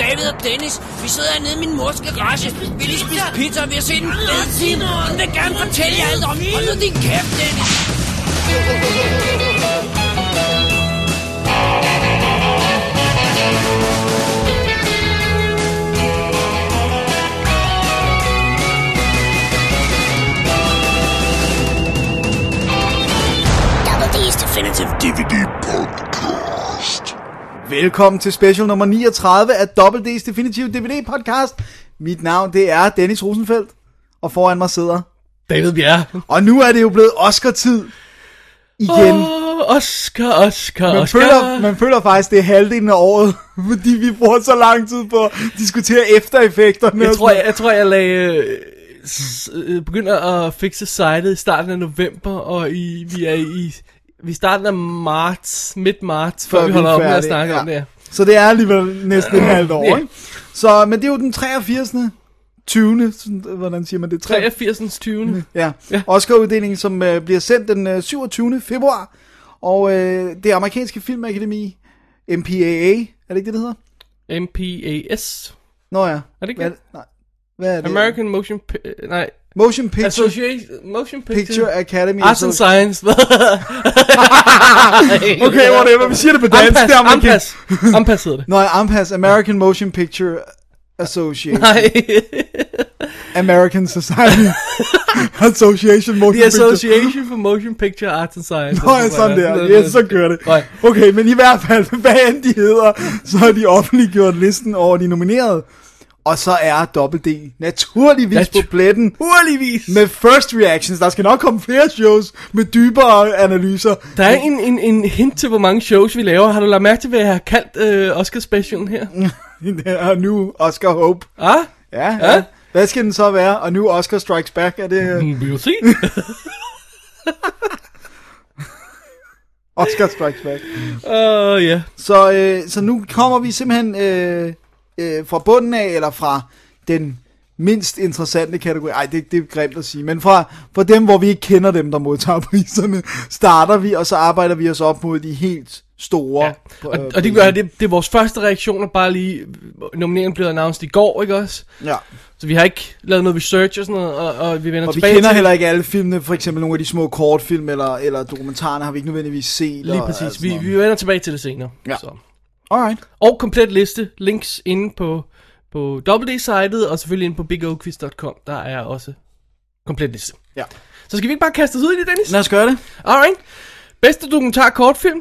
Dennis, vi sidder hernede i min mors garage. Vi lige spise pizza, og vi har set en fed film. Hun vil gerne fortælle jer alt om. Hold nu din kæft, Dennis. Double D's Definitive DVD Podcast. Velkommen til special nummer 39 af Double D's Definitive DVD podcast. Mit navn det er Dennis Rosenfeldt, og foran mig sidder... David Bjerre. Og nu er det jo blevet Oscar-tid igen. Oh, Åh, Oscar, Oscar, man, Oscar. føler, man føler faktisk, det er halvdelen af året, fordi vi bruger så lang tid på at diskutere eftereffekterne. Jeg tror, jeg, jeg, tror, jeg lagde, øh, s- øh, begynder at fikse sitet i starten af november, og i, vi er i vi er i starten af marts, midt marts, før, vi holder op med at snakke ja. om det. her. Så det er alligevel næsten et halvt år, Ja. ikke? Så, men det er jo den 83. 20. sådan, Hvordan siger man det? 83. 83. 20. Ja, Ja. Oscar-uddelingen, som øh, bliver sendt den øh, 27. februar. Og øh, det amerikanske filmakademi, MPAA, er det ikke det, det hedder? Mm. MPAS. Nå ja. Er det ikke Hvad, det? nej. Hvad er det? American Motion... Pi- øh, nej. Motion Picture, Association... Motion Picture... Picture Academy. Arts and Science. Okay, whatever. Vi siger det på dansk. Ampas, det er amerikansk. Ampas. Ampas hedder det. Nå, ja, AMPAS, American Motion Picture Association. Nej. American Society Association Motion The Picture. Association for Motion Picture Arts and Science. Nå, ja, sådan der. Ja, så kører det. Nej. Okay, men i hvert fald, hvad end de hedder, så har de offentliggjort listen over de nominerede. Og så er Double D naturligvis på Natu- pletten Hurtigvis. Men med first reactions. Der skal nok komme flere shows med dybere analyser. der er en, en, en hint til, hvor mange shows vi laver. Har du lagt mærke til, hvad jeg har kaldt øh, Oscar Specialen her? Mm. Og nu Oscar Hope. Ah? Ja, ja. Hvad skal den så være? Og nu Oscar Strikes Back. Er det Mm, We'll see. Oscar Strikes Back? Åh, uh, ja. Så, øh, så nu kommer vi simpelthen øh, øh, fra bunden af, eller fra den mindst interessante kategori. Ej, det, det er grimt at sige, men fra, fra dem, hvor vi ikke kender dem, der modtager priserne, starter vi, og så arbejder vi os op mod de helt store. øh, Ja. Ja. Og, og det, gør, det, det er vores første reaktioner bare lige, nomineringen blev announced i går, ikke også? ja. Så vi har ikke lavet noget research og sådan noget, og, og vi vender Og vi tilbage kender til heller ikke alle filmene, for eksempel nogle af de små kortfilm eller, eller dokumentarerne har vi ikke nødvendigvis set. Lige og alt præcis, sådan vi, noget. vi vender tilbage til det senere. altså, Ja. Så. Alright. Og komplet liste, links inde på, på WD-sitet, og selvfølgelig inde på bigoquiz.com, der er også komplet liste. Ja. Så skal vi ikke bare kaste os ud i det, Dennis? Lad os gøre det. Alright. Bedste dokumentar kortfilm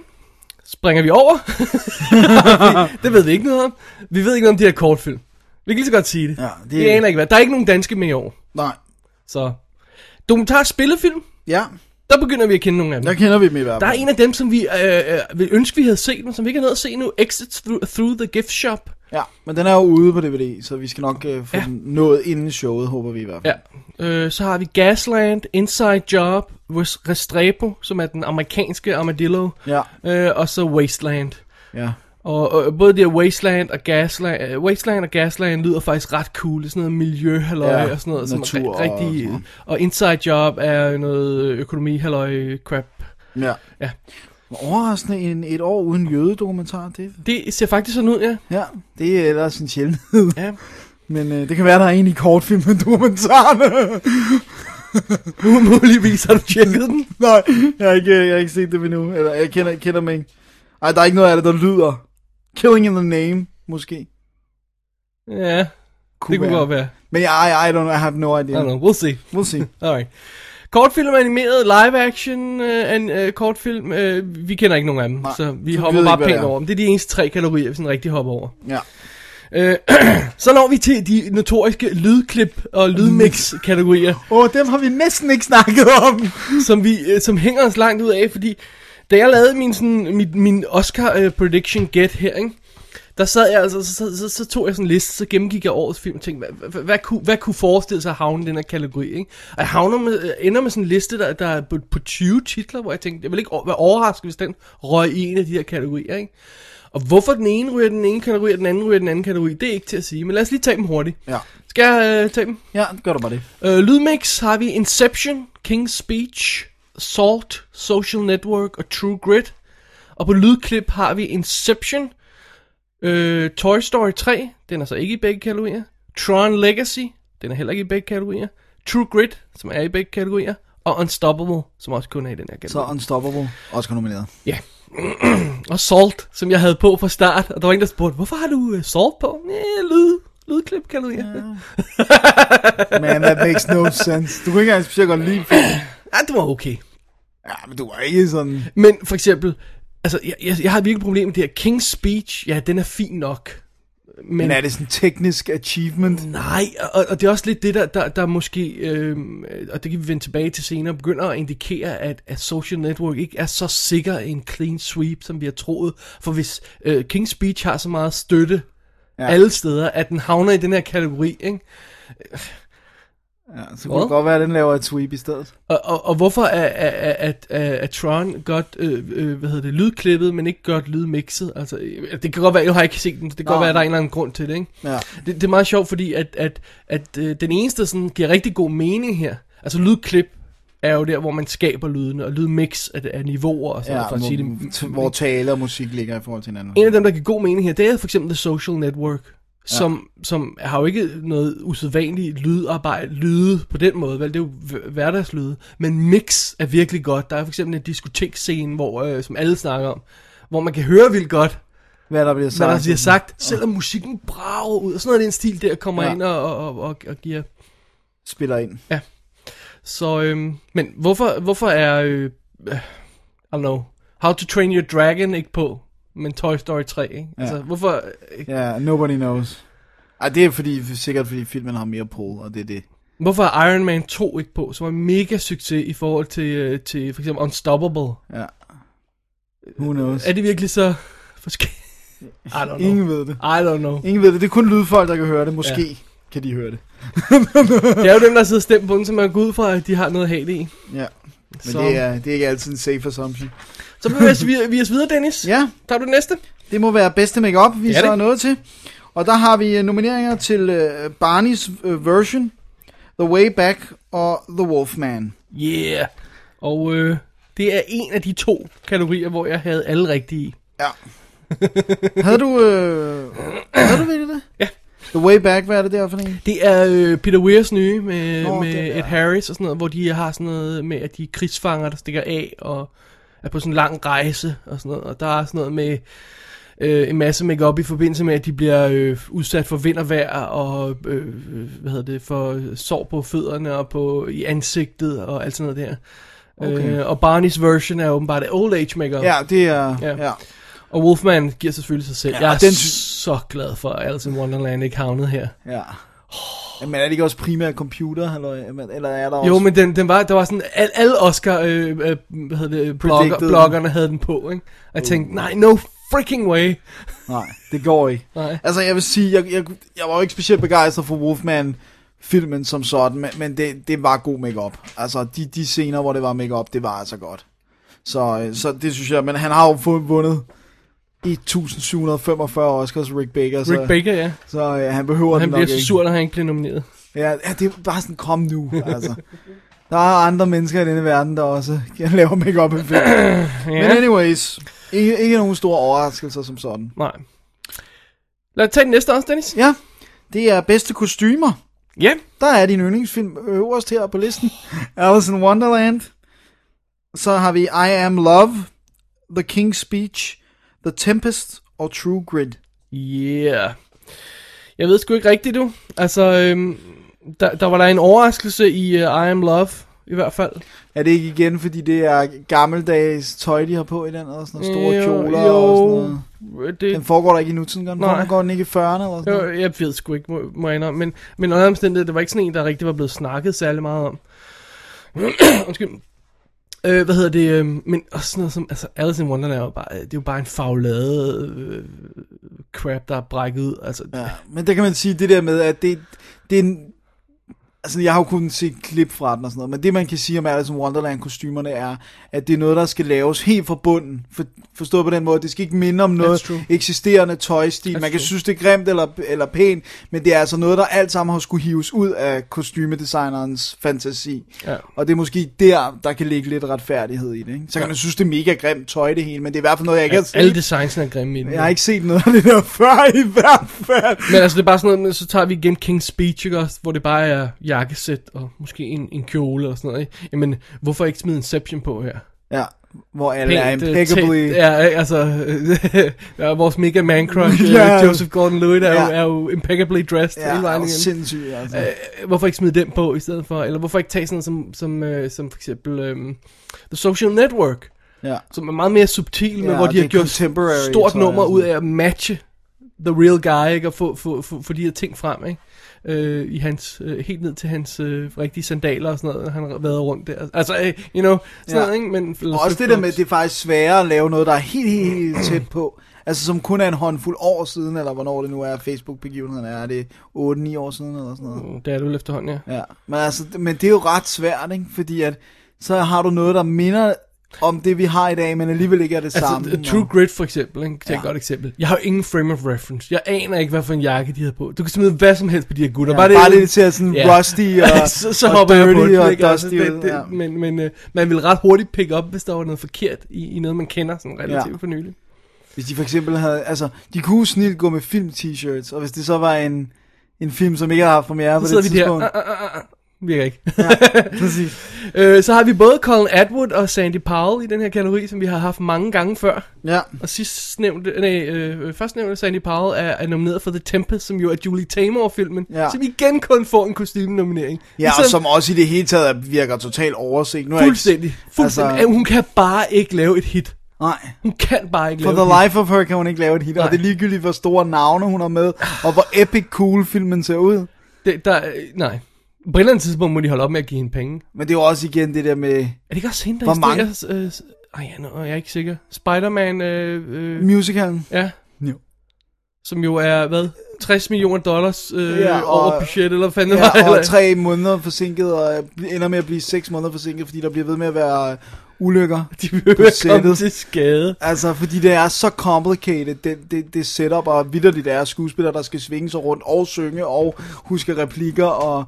springer vi over. det ved vi ikke noget om. Vi ved ikke noget om de her kortfilm. Vi kan lige så godt sige det. Ja, det- Vi aner ikke hvad. Der er ikke nogen danske med i år. Nej. Så. Dokumentar spillefilm. Ja, Der begynder vi at kende nogle af dem. der kender vi dem i hvert fald. Der er en af dem, som vi øh, øh, vil ønske, vi havde set, men som vi ikke har nået at se nu. Exit through, through the Gift Shop. Ja, men den er jo ude på DVD, så vi skal nok øh, få ja. den nået inden showet, håber vi i hvert fald. Ja. Øh, så har vi Gasland, Inside Job, Res- Restrepo, som er den amerikanske Armadillo, Ja. øh, og så Wasteland. ja. Og, og både det her Wasteland og Gasland, øh, Wasteland og Gasland lyder faktisk ret cool. Det er sådan noget miljø Ja, ja, og sådan noget. Som natur er og ri- rigtig, sådan og, noget. og Inside Job er noget økonomi halløj crap. ja. Ja. Overraskende en, et år uden jødedokumentar, det, Det ser faktisk sådan ud, ja. ja, det er ellers en sjældenhed. ja. Men øh, det kan være, der er en i kortfilm med dokumentarerne. Muligvis har du tjekket den. Nej, jeg har, ikke, øh, jeg har ikke set det endnu. Eller, jeg kender, jeg kender mig ikke. Ej, der er ikke noget af det, der lyder. Killing in the Name, måske. Ja, det kunne godt være. Men jeg, I, I don't know, I have no I idea. don't know, we'll see. We'll see. Alright. Kortfilm animeret, live action øh, an, øh, kortfilm, øh, vi kender ikke nogen af dem, Nej, så vi så vi hopper ved bare ikke, hvad pænt det er. over dem. Det er de eneste tre kategorier, vi sådan rigtig hopper over. Ja. Øh, så når vi til de notoriske lydklip og lydmix-kategorier, Åh, oh, dem har vi næsten ikke snakket om. som, vi, øh, som hænger os langt ud af, fordi da jeg lavede min, sådan, min, min Oscar øh, prediction get her, ikke? der sad jeg altså, så, så, så, så tog jeg sådan en liste, så gennemgik jeg årets film og tænkte, hvad, hvad, hvad, kunne, hvad kunne forestille sig at havne i den her kategori, ikke? Og jeg havner med, øh, ender med sådan en liste, der, der er på, på 20 titler, hvor jeg tænkte, jeg vil ikke o- være overrasket, hvis den røg i en af de her kategorier, ikke? Og hvorfor den ene ryger i den ene kategori, og den anden ryger i den anden kategori, det er ikke til at sige, men lad os lige tage dem hurtigt. Ja. Skal jeg øh, tage dem? Ja, gør du bare det. Øh, lydmix har vi Inception, King's Speech, Salt, Social Network og True Grit. Og på lydklip har vi Inception, Øh, Toy Story 3, den er så ikke i begge kategorier. Tron Legacy, den er heller ikke i begge kategorier. True Grit, som er i begge kategorier. Og Unstoppable, som også kun er i den her kategori. Så Unstoppable, også nomineret. Ja. og Salt, som jeg havde på fra start. Og der var ingen, der spurgte, hvorfor har du øh, Salt på? Ja, lyd. Lydklip, kan du ja. Man, that makes no sense. Du kunne ikke engang specielt godt lide filmen. ja, det var okay. Ja, men du var ikke sådan... Men for eksempel, altså, jeg, jeg, jeg har virkelig problemer med det her. King's Speech, ja, den er fin nok. Men Mm. er det sådan teknisk achievement? Nej, og, og det er også lidt det, der, der, der måske, øhm, og det kan vi vende tilbage til senere, begynder at indikere, at, at social network ikke er så sikker en clean sweep, som vi har troet. For hvis øh, King's Speech har så meget støtte ja. alle steder, at den havner i den her kategori, ikke? Ja, så kunne det godt være, at den laver et sweep i stedet. Og, og, og hvorfor er, er, er, at, er, er Tron godt, øh, øh, hvad hedder det, lydklippet, men ikke godt lydmixet? Altså, øh, det kan godt være, jeg har ikke set den, så det kan Nå. godt være, at der er en eller anden grund til det, ikke? Ja. Det, det er meget sjovt, fordi at, at, at øh, den eneste, der sådan, giver rigtig god mening her, altså lydklip er jo der, hvor man skaber lydene, og lydmix er, er niveauer og sådan Ja, noget, for at sige det. hvor, hvor tale og musik ligger i forhold til hinanden. En af dem, der giver god mening her, det er for eksempel The Social Network, som, som har jo ikke noget usædvanligt lydarbejde, lyde på den måde, vel? Det er jo hv- hverdagslyde. Men mix er virkelig godt. Der er for eksempel en diskotekscene, hvor, øh, som alle snakker om, hvor man kan høre vildt godt, Hvad der bliver hvad sagt. der bliver sagt, selvom musikken brager ud, og sådan noget den stil der kommer Ja. ind og, og, og, og, og giver. Spiller ind. Så, øhm, men hvorfor, hvorfor er, øh, øh, I don't know, How to Train Your Dragon ikke på, men Toy Story 3, ikke? Ja. Altså, hvorfor, øh, Ja, yeah, nobody knows. Ej, det er fordi, sikkert fordi filmen har mere på, og det er det. hvorfor er Iron Man 2 ikke på, som var en mega succes i forhold til, øh, til for eksempel Unstoppable? Ja. Who knows? Er det virkelig så forskelligt? I don't know. Ingen ved det. I don't know. Ingen ved det. Det er kun lydfolk, der kan høre det. Måske ja. kan de høre det. Det er jo dem, der sidder og stemmer på den, så man går ud fra, at de har noget at have det i. Ja. Men Så- det er, det er ikke altid en safe assumption. Så bevæger vi os videre- vi os videre, Dennis. Ja, Tager du den næste? det må være bedste makeup, vi Det er så det. er nået til. Og der har vi øh, nomineringer til øh, Barney's øh, version, The Way Back og The Wolfman. Yeah. Og øh, det er en af de to kategorier, hvor jeg havde alle rigtige i. Ja. havde du... Øh, havde du virkelig det? Ja. The Way Back, hvad er det der for en? Det er øh, Peter Weirs nye med, Nå, Nå, den med der. Ed Harris og sådan noget, hvor de har sådan noget med, at de er krigsfanger, der stikker af og er på sådan en lang rejse og sådan noget. Og der er sådan noget med øh, en masse makeup i forbindelse med, at de bliver øh, udsat for vind og vejr og øh, øh, hvad hedder det, for sår på fødderne og på, i ansigtet og alt sådan noget der. Okay. Okay. Øh, og Barney's version er åbenbart old age makeup. Ja, det er... Ja. Ja. Og Wolfman giver selvfølgelig sig selv. Ja, og jeg er den den sy- så glad for, at Alice in Wonderland ikke havnede her. ja. Men er det ikke også primært computer, eller, eller er der Jo, også... men den, den var, der var sådan, al, alle Oscar, øh, øh, hvad hedder det, blogger, Predicted. Uh. bloggerne havde den på, ikke? Og jeg tænkte, nej, no freaking way. Nej, det går ikke. Nej. Altså, jeg vil sige, jeg, jeg, jeg var jo ikke specielt begejstret for Wolfman-filmen som sådan, men, men det, det var god makeup. Altså, de, de scener, hvor det var makeup, det var altså godt. Så, øh, så det synes jeg, men han har jo fået vundet 1745 Oscars, Rick Baker, så, Rick Baker, ja. så øh, han behøver Han Altså, den bliver nok så ikke. sur, når han ikke bliver nomineret. Ja, ja, det er bare sådan, kom nu, altså. Der er andre mennesker i denne verden, der også kan lave makeup en film. Men Ja. anyways, ikke, ikke nogen store overraskelser som sådan. Nej. Lad os tage den næste også, Dennis. Ja, det er bedste kostymer. Ja. Der er din yndlingsfilm øh, øverst her på listen. Alice in Wonderland. Så har vi I Am Love, The King's Speech, The Tempest og True Grit. Yeah. Jeg ved sgu ikke rigtigt, du. Altså, øhm, der, der var der en overraskelse i uh, I Am Love, i hvert fald. Er det ikke igen, fordi det er gammeldags tøj, de har på i den, og sådan noget store Jo, kjoler jo, og sådan noget. Den Det, foregår der ikke i nutiden, gør den? Nej. Foregår den ikke i 40'erne eller sådan noget? jo, jeg ved sgu ikke, må, må jeg indrømme, men, men under alle omstændigheder, det var ikke sådan en, der rigtig var blevet snakket særlig meget om. Undskyld. Øh, hvad hedder det, øh, men også sådan noget som, altså Alice in Wonderland er jo bare, det er jo bare en faglade øh, crap, der er brækket ud, altså, ja. Ja, men der kan man sige det der med, at det, det er en, Altså, jeg har jo kun set klip fra den og sådan noget, men det man kan sige om Alice in Wonderland-kostymerne er, at det er noget, der skal laves helt fra bunden. For, forstået på den måde, det skal ikke minde om noget true. eksisterende tøjstil. man kan true. synes, det er grimt eller, eller pænt, men det er altså noget, der alt sammen har skulle hives ud af kostymedesignerens fantasi. Ja. Og det er måske der, der kan ligge lidt retfærdighed i det. Ikke? Så kan man synes, det er mega grimt tøj det hele, men det er i hvert fald noget, jeg ikke har set. Altså, Alle designsene er grimme i den. Jeg har ikke set noget af det der før i hvert fald. Men altså, det er bare sådan noget, med, så tager vi igen King's Speech, ikke også, hvor det bare er jakkesæt og måske en, en kjole og sådan noget, ikke? Jamen, hvorfor ikke smide Inception på her? Ja, hvor alle er Pænt, øh, impeccably... tæt- Ja, ikke? altså, ja, vores mega man crush, Ja. yeah. Joseph Gordon-Levitt, er, Ja. yeah. er jo impeccably dressed Ja, hele vejen og igennem. sindssygt, altså. Øh, hvorfor ikke smide den på i stedet for? Eller hvorfor ikke tage sådan noget som, som, øh, som for eksempel øh, The Social Network, ja. som er meget mere subtil, men Ja, hvor og de har det er gjort contemporary, stort tror jeg, nummer og ud sådan. af at matche The Real Guy, ikke? Og få, få, få, få de her ting frem, ikke? Øh, i hans, øh, helt ned til hans øh, rigtige sandaler og sådan noget, han har været rundt der. Altså, øh, you know, sådan Ja. noget, ikke? Men, Og også det der med, at det er faktisk sværere at lave noget, der er helt, helt, helt tæt på. Altså som kun er en håndfuld år siden, eller hvornår det nu er, Facebook-begivenheden er. Er det 8-9 år siden, eller sådan noget? Mm, Det er du efterhånden, ja. Ja, men, altså, men det er jo ret svært, ikke? Fordi at, så har du noget, der minder om det, vi har i dag, men alligevel ikke er det samme. Altså, True og- Grit for eksempel, ikke? Det er et godt eksempel. Jeg har jo ingen frame of reference. Jeg aner ikke, hvad for en jakke de havde på. Du kan smide hvad som helst på de her gutter. Ja, bare det, bare det til at sådan Ja. rusty og, så, så og hopper jeg på dirty den, og ikke? Altså, dusty ud, det, det, ja. Men, men øh, man vil ret hurtigt pick up, hvis der var noget forkert i, i noget, man kender sådan relativt Ja. ja. for nylig. Hvis de for eksempel havde, altså, de kunne jo snilt gå med film-t-shirts, og hvis det så var en, en film, som ikke har haft premiere på Så sidder det vi der. tidspunkt. Ah, ah, ah, ah. Virker ikke. Præcis. øh, så har vi både Colin Atwood og Sandy Powell i den her kategori, som vi har haft mange gange før. Ja, Og sidst nævnte, nej, øh, først nævnte Sandy Powell er, er nomineret for The Tempest, som jo er Julie Taymor-filmen, Ja. som igen kun får en Ligesom kostyme-nominering. ja og som også i det hele taget virker totalt overset. Nu er jeg ikke- Fuldstændig. fuldstændig. Altså- Altså, hun kan bare ikke lave et hit. Nej. Hun kan bare ikke For lave the et hit. life of her kan hun ikke lave et hit, og Nej. det er ligegyldigt, hvor store navne hun har med, og hvor epic cool filmen ser ud. Det, der, øh, nej. På et eller andet tidspunkt må de holde op med at give hende penge. Men det er jo også igen det der med Er det ikke også hende, der Hvor instruerer, Øh, s- ej, ja, nå, jeg er ikke sikker. Spider-Man, øh, øh, musicalen. ja. Jo. Som jo er, hvad? 60 millioner dollars øh, Ja, ja, og- over budget, eller hvad fanden det Ja, var, og eller- tre måneder forsinket, og ender med at blive seks måneder forsinket, fordi der bliver ved med at være øh, ulykker. De vil på jo komme sættet. til skade. Altså, fordi det er så complicated, det, det, det setup, og vidderligt er skuespillere, der skal svinge sig rundt og synge, og huske replikker, og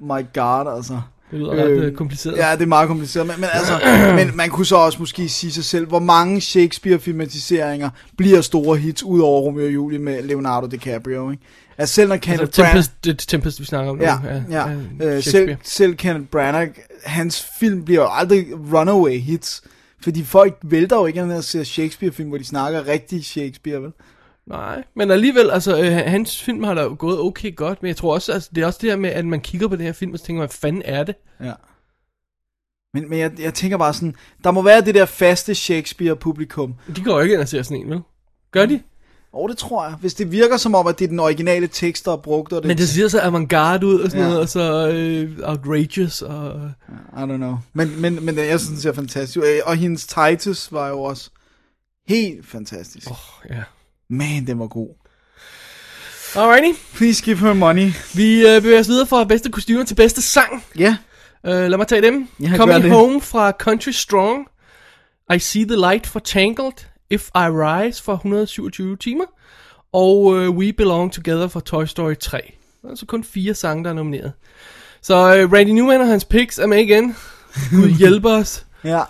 my god, altså. Det lyder ret Øh, øh, kompliceret. Ja, det er meget kompliceret, men, men altså, men man kunne så også måske sige sig selv, hvor mange Shakespeare-filmatiseringer bliver store hits, ud over Romeo og Julie med Leonardo DiCaprio, ikke? Altså, selv når Kenneth altså, Branagh... Tempest, det er Tempest, vi snakker om nu. Ja, ja. Øh, selv, selv Kenneth Branagh, hans film bliver jo aldrig runaway hits, fordi folk vælter jo ikke, når de ser Shakespeare-film, hvor de snakker rigtig Shakespeare, vel? Nej, men alligevel, altså, øh, hans film har da jo gået okay godt, men jeg tror også, altså, det er også det her med, at man kigger på den her film, og så tænker, man, hvad fanden er det? Ja. Men, men jeg, jeg tænker bare sådan, der må være det der faste Shakespeare-publikum. De går jo ikke ind og ser sådan en, vel? Gør de? Og det tror jeg. Hvis det virker som om, at det er den originale tekst, der er brugt, og det, Men det ser så avantgarde ud og sådan Ja. ja. noget, og så øh, outrageous og... I don't know. Men, men, men jeg synes, det er fantastisk. ud. Og hendes Titus var jo også helt fantastisk. Oh. Ja. Man, den var god. Alrighty, Please give her money. vi øh, bevæger os videre fra bedste kostymer til bedste sang. Ja. Yeah. Øh, lad mig tage dem. Ja, gør Coming det. Home fra Country Strong. I See the Light for Tangled. If I Rise fra 127 timer. Og øh, We Belong Together fra Toy Story 3. Der er altså kun fire sange, der er nomineret. Så øh, Randy Newman og hans picks er med igen. Gud hjælper os. Ja.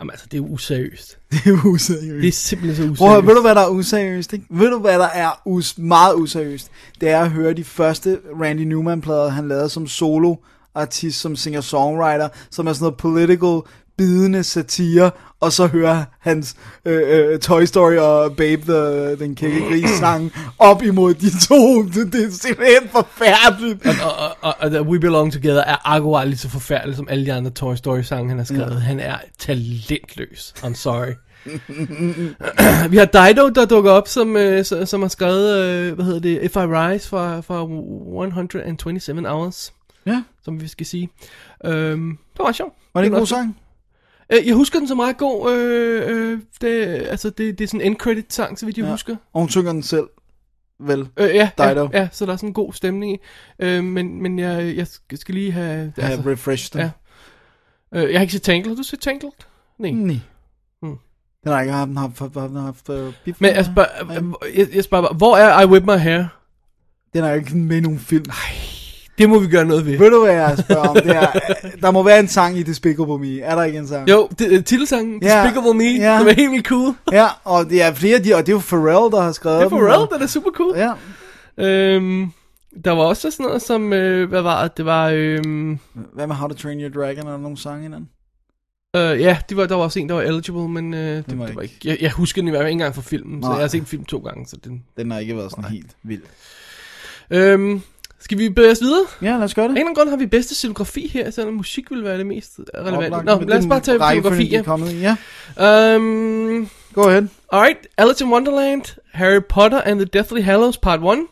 Jamen altså, det er jo useriøst. Det er jo useriøst. Det er simpelthen så useriøst. Prøv at høre, ved du hvad der er useriøst, ikke? Ved du hvad der er us- meget useriøst? Det er at høre de første Randy Newman-plader, han lavede som solo artist, som singer-songwriter, som er sådan noget political, bidende satire, og så høre hans øh, øh, Toy Story og Babe the, den kække gris sang op imod de to. Det, det er simpelthen forfærdeligt. og, og, og, og The We Belong Together er akkurat lige så forfærdelig som alle de andre Toy Story-sange, han har skrevet. Ja. Han er talentløs. I'm sorry. Vi har Dido, der dukker op, som, øh, så- som har skrevet, øh, hvad hedder det, If I Rise fra, fra 127 Hours, Ja, som vi skal sige. Øhm, det var meget sjovt. var det en var god også- sang? Øh, Jeg husker den som meget god. Øh, øh, det, altså, det, det er sådan en end-credit-sang, så vidt jeg Ja. ja. husker. Og hun synger den selv. vel? Øh, ja, Dido. ja, ja, så der er sådan en god stemning i. Øh, men men jeg, jeg skal- skal lige have... Ja, altså, refresh den. ja. øh, jeg har ikke set Tangled. Har du set Tangled? Nej. Mm. Nej. Mm. Den har ikke haft, den har haft, har den haft øh, bif- Men altså, jeg spørger, jeg, jeg spørger bare, hvor er I Whip My Hair? Den er jo ikke med i nogen film. Nej. Det må vi gøre noget ved. Ved du, hvad jeg spørger om? Det er, øh, der må være en sang i Despicable Me. Er der ikke en sang? Jo, det, øh, titelsangen, Ja. yeah. Despicable Me, Ja. yeah. som er helt vildt cool. Ja, og det er flere af de, og det er jo Pharrell, der har skrevet Det er dem, Pharrell, og- den er super cool. Ja, Øhm, der var også sådan noget som, øh, hvad var det, det var, øhm, hvad med How to Train Your Dragon, er der nogle sange i den? øh, ja, det var, der var også en, der var eligible, men øh, det, var det, var det var ikke- ikke, jeg, jeg husker den i hvert fald ikke engang fra filmen, så Nej. jeg har set filmen to gange, så den, Den har ikke været sådan helt vild. øhm, skal vi bevæge os videre? Ja, lad os gøre Af det. en eller anden grund har vi bedste scenografi her, selvom musik ville være det mest relevante. Oplagt. Nå, Men lad os den bare tage rækkefølge, scenografi, de ja. er kommet i. Ja, Um, gå ahead. alright, Alice in Wonderland, Harry Potter and the Deathly Hallows Part 1,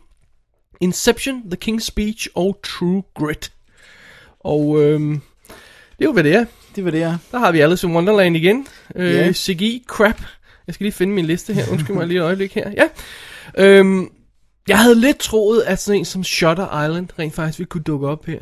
Inception, The King's Speech og True Grit. Og øhm, det er jo, hvad det er. Det var det, jeg. Der har vi Alice in Wonderland igen. Øh, Ja. yeah. CGI crap. Jeg skal lige finde min liste her. Undskyld mig lige et øjeblik her. Ja. Øhm, jeg havde lidt troet, at sådan en som Shutter Island rent faktisk ville kunne dukke op her.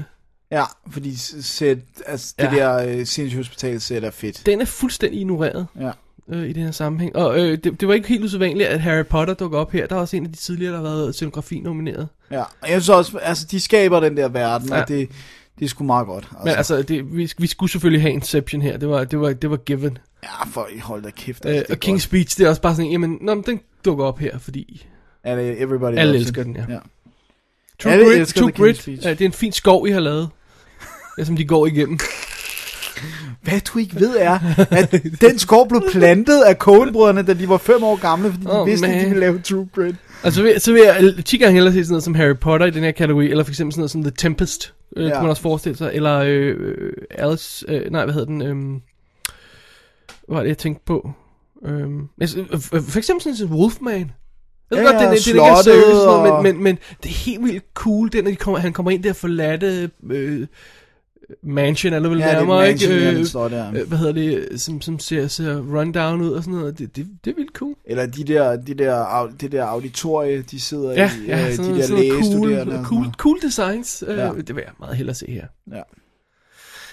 Ja, fordi s- sæt, altså, det Ja. der øh, sindssyge hospital sæt er fedt. Den er fuldstændig ignoreret Ja. øh, i den her sammenhæng. Og øh, det, det var ikke helt usædvanligt, at Harry Potter dukker op her. Der er også en af de tidligere, der har været scenografi nomineret. Ja, og jeg synes også, altså de skaber den der verden, ja. Ja. og det, det er sgu meget godt. Altså, Men altså, det, vi, vi skulle selvfølgelig have Inception her. Det var, det var, det var given. ja, for I hold da kæft. Øh, Altså, og det er King's Speech, det er også bare sådan en, jamen, nå, men den dukker op her, fordi godt. Er det everybody alle loves it? elsker den, ja. Ja. True Alle Grit, elsker True The King's Grit Speech. øh, det er en fin skov, I har lavet. Ja, som de går igennem. Hvad du ikke ved er, at den skov blev plantet af Coen-brødrene, da de var fem år gamle, fordi de oh, Åh, vidste, at de man. ville lave True Grit. Og Altså, så vil, så vil jeg 10 gange hellere se sådan noget som Harry Potter i den her kategori, eller for eksempel sådan noget som The Tempest, øh, Ja. ja. kunne man også forestille sig, eller øh, øh, Alice, øh, nej, hvad hedder den, øh, hvad var det, jeg tænkte på? Øh, altså, øh, øh, for eksempel sådan som Wolfman. Jeg ved Ja, godt, det, ja, det, det, det ikke er slottet seriøst, og... og- noget, men, men, men det er helt vildt cool, det, når de kommer, han kommer ind der forladte øh, mansion, eller vel Ja, det er nærmere, mansion, ikke? ja, Øh, den står der. øh, hvad hedder det, som, som ser, ser rundown ud og sådan noget. Det, det, det er vildt cool. Eller de der, de der, au- det der auditorie, de sidder Ja, i, ja, øh, sådan, de der noget, sådan noget lægestuderende. cool, og cool, sådan cool designs. Øh, Ja. Det vil jeg meget hellere se her. noget. Ja.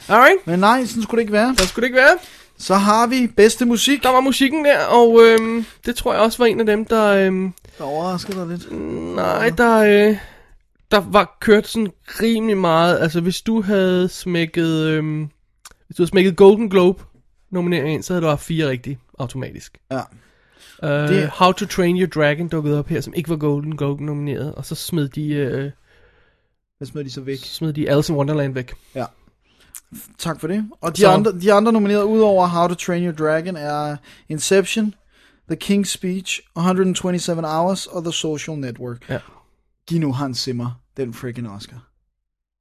Alright, Men nej, sådan skulle det ikke være. der skulle det ikke være. Så har vi bedste musik. Der var musikken der, og øhm, det tror jeg også var en af dem, der... Øhm, Der overrasker dig lidt. nej, der, øh, der var kørt sådan rimelig meget. Altså, hvis du havde smækket... Øhm, hvis du havde smækket Golden Globe nomineringen, ind, så havde du haft fire rigtige automatisk. Ja. Uh, Det- det... How to Train Your Dragon dukkede op her, som ikke var Golden Globe nomineret, og så smed de, øh, Hvad smed de så væk? smed de Alice in Wonderland væk. Tak for det. Og de, Så- andre, de andre nominerede udover How to Train Your Dragon er Inception, The King's Speech, 127 Hours og The Social Network. Ja. Giv nu Hans Zimmer den freaking Oscar.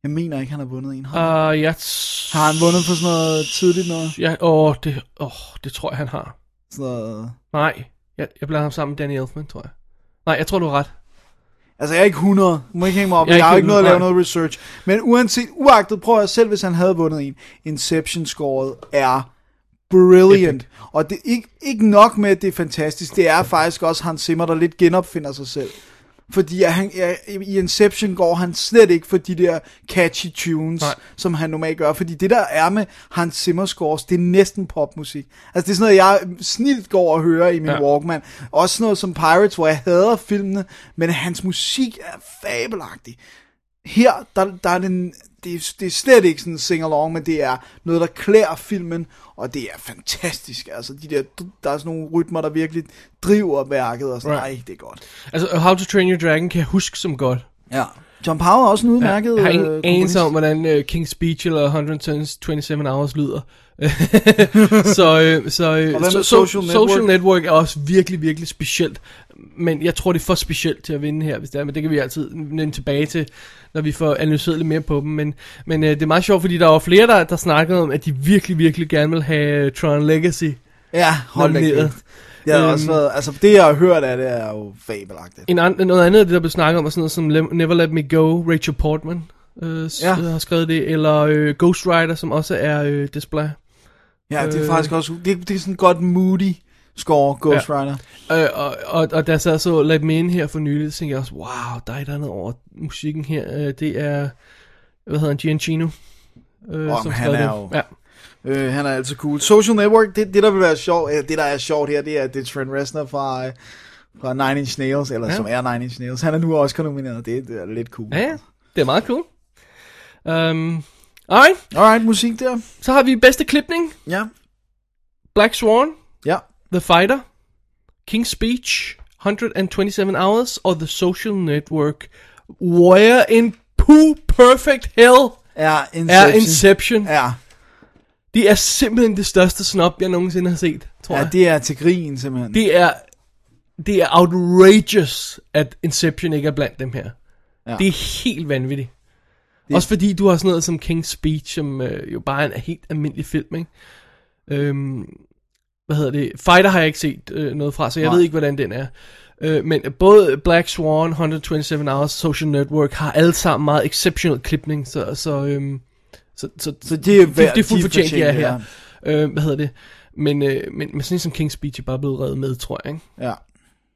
Jeg mener ikke, han har vundet en. Har, han? Uh, jeg t- har han vundet for sådan noget tidligt noget? Ja, åh, det, åh, det tror jeg, han har. Sådan noget... Nej, jeg, jeg blander ham sammen med Danny Elfman, tror jeg. Nej, jeg tror, du har ret. Altså, jeg er ikke 100. Du må ikke hænge mig op. Jeg Jeg, er jeg har jo ikke ikke noget at lave 100, noget research. Men uanset, uagtet, prøv at selv, hvis han havde vundet en. Inception-scoret er brilliant. Og det er ikke, ikke nok med, at det er fantastisk. Det er faktisk også Hans Zimmer, der lidt genopfinder sig selv. Fordi at han, ja, i Inception går han slet ikke for de der catchy tunes, Nej. Nej. som han normalt gør. Fordi det der er med Hans Zimmer scores, det er næsten popmusik. Altså det er sådan noget, jeg snilt går og hører i min ja. Ja. Walkman. Også sådan noget som Pirates, hvor jeg hader filmene, men hans musik er fabelagtig. Her, der, der er den, det, er, det er slet ikke sådan en sing-along, men det er noget, der klæder filmen, og det er fantastisk. Altså de der, der er sådan nogle rytmer, der virkelig driver værket, og sådan, Right. right. ej, det er godt. Altså, How to Train Your Dragon kan jeg huske som godt. Ja. John Power er også en udmærket Jeg har øh, ingen komponist. anelse om, hvordan øh, King's Speech eller 127 Hours lyder. så øh, så, øh, Og hvad med so, Social social, Network? network? social Network er også virkelig, virkelig specielt. Men jeg tror, det er for specielt til at vinde her, hvis det er. Men det kan vi altid vende tilbage til, når vi får analyseret lidt mere på dem. Men, men øh, det er meget sjovt, fordi der var flere, der, der snakkede om, at de virkelig, virkelig gerne vil have øh, Tron Legacy Ja, hold da nomineret. kæft. Det har Øhm. også været, altså det jeg har hørt af det er jo fabelagtigt. En an, noget andet af det, der blev snakket om, er sådan noget som Lem- Never Let Me Go, Rachel Portman øh, Ja. ja. har skrevet det, eller øh, Ghost Rider, som også er øh, Display. Ja, det er Øh. faktisk også, det, det er sådan godt moody score Ghost ja. Rider. Øh, og, og, og da jeg sad og så Let Me In her for nylig, så tænkte jeg også, wow, der er et eller andet over musikken her. Øh, det er, hvad hedder han, Giancino. Øh, Om han skrev er det. jo- Ja. Øh, han er altid cool. Social Network, det, det der vil være sjovt, øh, det der er sjovt her, det er, det er Trent Reznor fra, øh, fra Nine Inch Nails, eller Ja. ja. som er Nine Inch Nails. Han er nu også nomineret, det, det er lidt cool. ja, ja, det er meget cool. Um, alright, Alright, musik der. så har vi bedste klipning. Ja, Black Swan, ja. The Fighter, King's Speech, 127 Hours, og The Social Network. Where in poo perfect hell Er Inception. er Inception? Ja, Det er simpelthen det største snop, jeg nogensinde har set, tror ja, jeg. det er til grin simpelthen. Det er, det er outrageous, at Inception ikke er blandt dem her. Ja. Ja. Det er helt vanvittigt. Det... Også fordi du har sådan noget som King's Speech, som øh, jo bare er en helt almindelig film, ikke? Øhm, hvad hedder det? Fighter har jeg ikke set øh, noget fra, så jeg Nej. Nej. ved ikke, hvordan den er. Øh, men både Black Swan, 127 Hours, Social Network har alle sammen meget exceptional klipning, så, så, øhm, så, så, Så det er det, det er de fuldt fortjent, de er fortjener, her. Øh, hvad hedder det? Men, øh, men, men sådan en som King's Speech er bare blevet reddet med, tror jeg. Ikke? Ja,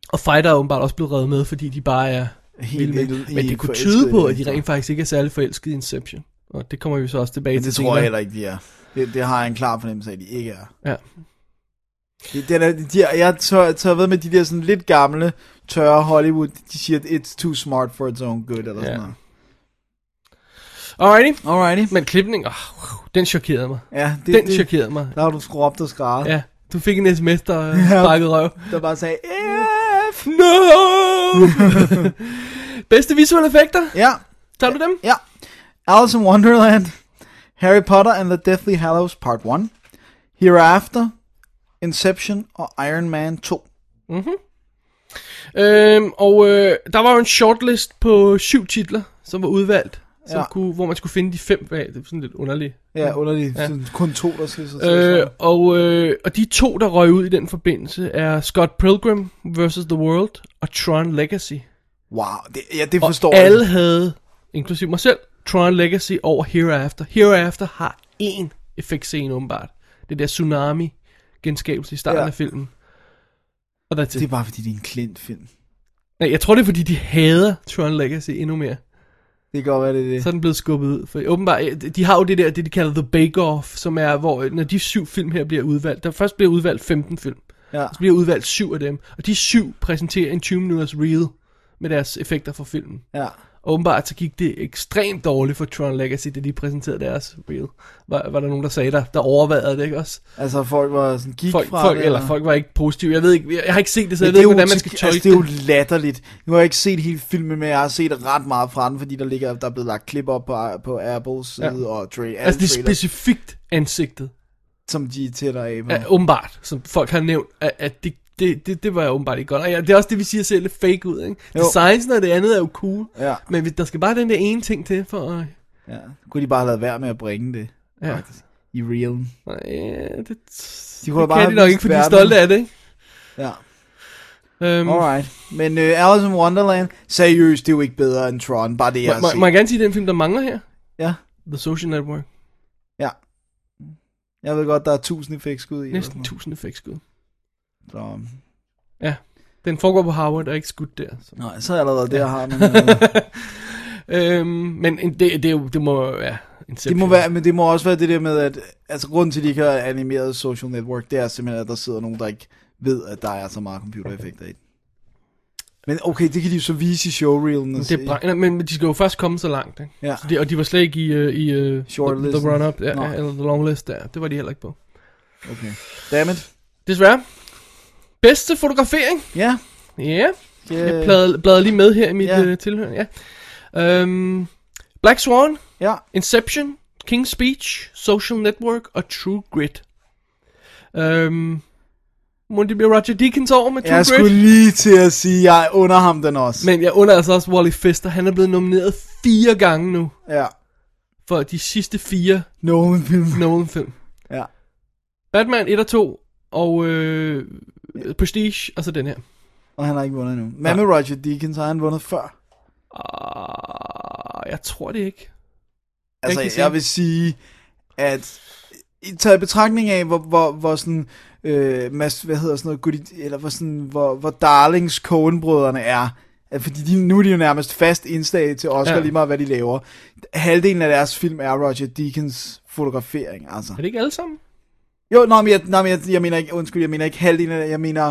Og Fighter er åbenbart også blevet reddet med, fordi de bare er helt, vilde med. helt, Men det kunne tyde på, at de rent faktisk ikke er særlig forelskede i Inception. Og det kommer vi så også tilbage Men det til. tror jeg heller ikke, de er. Det, det har jeg en klar fornemmelse af, at de ikke er. Ja. Det, den er de, er- jeg tør, tør ved med de der sådan lidt gamle, tørre Hollywood, de siger, at it's too smart for its own good, eller Ja. sådan noget. Alrighty. Alrighty. Men klipning, oh, wow, den chokerede mig. Ja, det, Den det, chokerede mig. der har du skrubt og skrevet, ja. Ja, du fik en sms, der øh, Ja. sparkede røv. der bare sagde, F. No! Bedste visuelle effekter? Ja, Tager du dem? ja. Alice in Wonderland, Harry Potter and the Deathly Hallows Part 1, Hereafter, Inception og Iron Man 2. Øhm, og øh, der var jo en shortlist på syv titler, som var udvalgt, som Ja. kunne, hvor man skulle finde de fem bag. Det er sådan lidt underligt. Ja, underligt. Ja. Kun to, der skal så Øh, og, øh, og de to, der røg ud i den forbindelse, er Scott Pilgrim vs. The World og Tron Legacy. Wow, det, ja, det Og forstår jeg. alle havde, inklusive mig selv, Tron Legacy over Hereafter. Hereafter har én effektscene åbenbart. Det der tsunami-genskabelse i starten ja. Ja. af filmen. Og der til. Det er bare fordi, det er en klint film. Nej, Jeg tror, det er, fordi de hader Tron Legacy endnu mere. Det kan godt være, det er det. Så er den blevet skubbet ud. For åbenbart, øh, de har jo det der, det de kalder The Bake Off, som er, hvor øh, når de syv film her bliver udvalgt, der først bliver udvalgt 15 film, Ja. så bliver udvalgt syv af dem, og de syv præsenterer en 20 minutters reel med deres effekter fra filmen. ja. Og åbenbart så gik det ekstremt dårligt for Tron Legacy, da de præsenterede deres reel. Var, var der nogen, der sagde, der, der overvejede det, ikke også? Altså, folk var sådan, gik Folk, fra folk, det. eller folk var ikke positive. Jeg ved ikke, jeg, jeg har ikke set det, så Men jeg det ved er ikke, jo hvordan man til- skal tolke altså, det er jo latterligt. Nu har jeg ikke set hele filmen, men jeg har set ret meget fra den, fordi der ligger, der er blevet lagt klip op på, på Apples side ja. og Dre, Altså, altså, det er trailer, specifikt ansigtet. som de tætter af på. Ja, åbenbart, som folk har nævnt, at, at det, det, det, det var åbenbart ikke godt. Og ja, det er også det, vi siger ser lidt fake ud, ikke? Jo. Jo. Designs og det andet er jo cool, Ja. men hvis- der skal bare den der ene ting til for at... ja. Kunne de bare have lavet være med at bringe det Ja, i realen. Nej, ja det, De kunne bare det kan have de nok vist ikke, for de er verden. stolte af det, ikke? Ja, Øhm, alright. Men uh, Alice in Wonderland, seriøst, det er jo ikke bedre end Tron, bare det jeg må, har må, set. må jeg gerne sige, den film, der mangler her? Ja, The Social Network. ja. Jeg ved godt, der er tusind effektskud i. eller sådan Næsten noget. 1000 effektskud. Så, øhm, Ja, den foregår på Harvard og er ikke skudt der. Så. Nej, så allerede der har man øh, noget. Øhm, men en- det, det, er jo- det må ja, Det må, være, men det må også være det der med, at altså, grunden til, at de ikke har animeret social network, det er simpelthen, at der sidder nogen, der ikke ved, at der er så meget computereffekter i den. Men okay, det kan de jo så vise i showreelen. og Det er se. brænder, men men de skal jo først komme så langt, ikke? Ja. Så det, og de var slet ikke i, uh, i uh, the, Shortlisten. the run-up, ja, Nej. ja, eller the long list der. Det var de heller ikke på. Okay. Dammit. Desværre. Bedste fotografering. Ja. Ja, yeah. Yeah. jeg plad, bladrer lige med her i mit Øh, Ja. yeah. uh, tilhør. Ja. Øhm, Black Swan, Ja. Inception, King's Speech, Social Network og True Grit. Øhm, må det blive Roger Deakins over med True Jeg Grit? skulle lige til at sige, at jeg under ham den også. Men jeg under altså også Wally Fister. Han er blevet nomineret fire gange nu Ja. for de sidste fire Nogen film. Nolan-film. Ja. Batman 1 og 2 og øh, Prestige, og så den her. Og han har ikke vundet endnu. Hvad med Roger Deakins? Har han vundet før? Uh, jeg tror det ikke. Altså, kan jeg, sige- jeg vil sige, at i taget i betragtning af, hvor, hvor, hvor sådan øh, mas, hvad hedder sådan noget, goodie, eller hvor, sådan, hvor, hvor darlings Coen-brødrene er. At Fordi de, nu er de jo nærmest fast indslag til Oscar, Ja. ja. lige meget hvad de laver. Halvdelen af deres film er Roger Deakins fotografering, altså. Er det ikke alle sammen? Jo, nej, men, jeg, nej, men jeg, jeg mener ikke, undskyld, jeg mener ikke halvdelen af, jeg mener,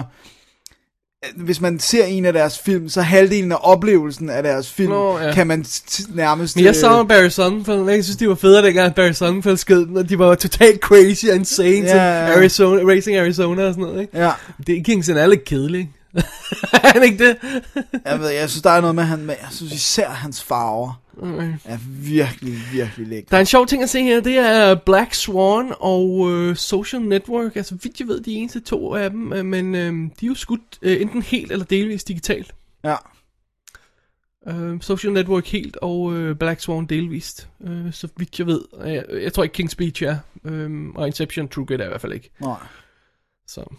at hvis man ser en af deres film, så halvdelen af oplevelsen af deres film, Nå, ja. kan man t- t- nærmest... Men jeg øh, savner Barry Sonnenfeld. Jeg synes, de var federe dengang, Barry Sonnenfeld skød den, og de var totalt crazy og insane yeah. til Ja, ja. Arizona, Racing Arizona og sådan noget, ikke? Ja, Det Kingston er lidt kedelig, ikke? er han ikke det? jeg ved, jeg synes, der er noget med, han, med jeg synes især hans farver er virkelig, virkelig lækre. Der er en sjov ting at se her, det er Black Swan og øh, Social Network. Altså, vidt jeg ved, de eneste to af dem, øh, men øh, de er jo skudt øh, enten helt eller delvist digitalt. Ja, Øh, Social Network helt, og øh, Black Swan delvist, øh, så vidt jeg ved. Jeg, jeg tror ikke King's Speech er, øh, og Inception True Grit er i hvert fald ikke. nej, Så,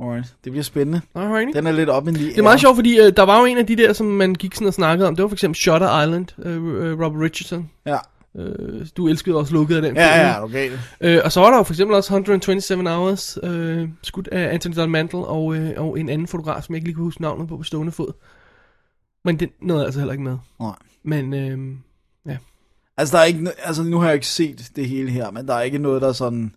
alright. Det bliver spændende. alrighty. Den er lidt op i Det er meget sjovt, fordi øh, der var jo en af de der, som man gik sådan og snakkede om. Det var for eksempel Shutter Island, øh, øh, Robert Richardson. Ja, Øh, du elskede også lukket af den ja, film. ja, er ikke? du gal? Øh, og så var der jo for eksempel også 127 Hours, øh, skudt af Anthony Don Mantel og, øh, og en anden fotograf, som jeg ikke lige kunne huske navnet på på stående fod. Men den nåede jeg altså heller ikke med. Nej. Men øh, Altså, der er ikke, no- altså, nu har jeg ikke set det hele her, men der er ikke noget, der sådan...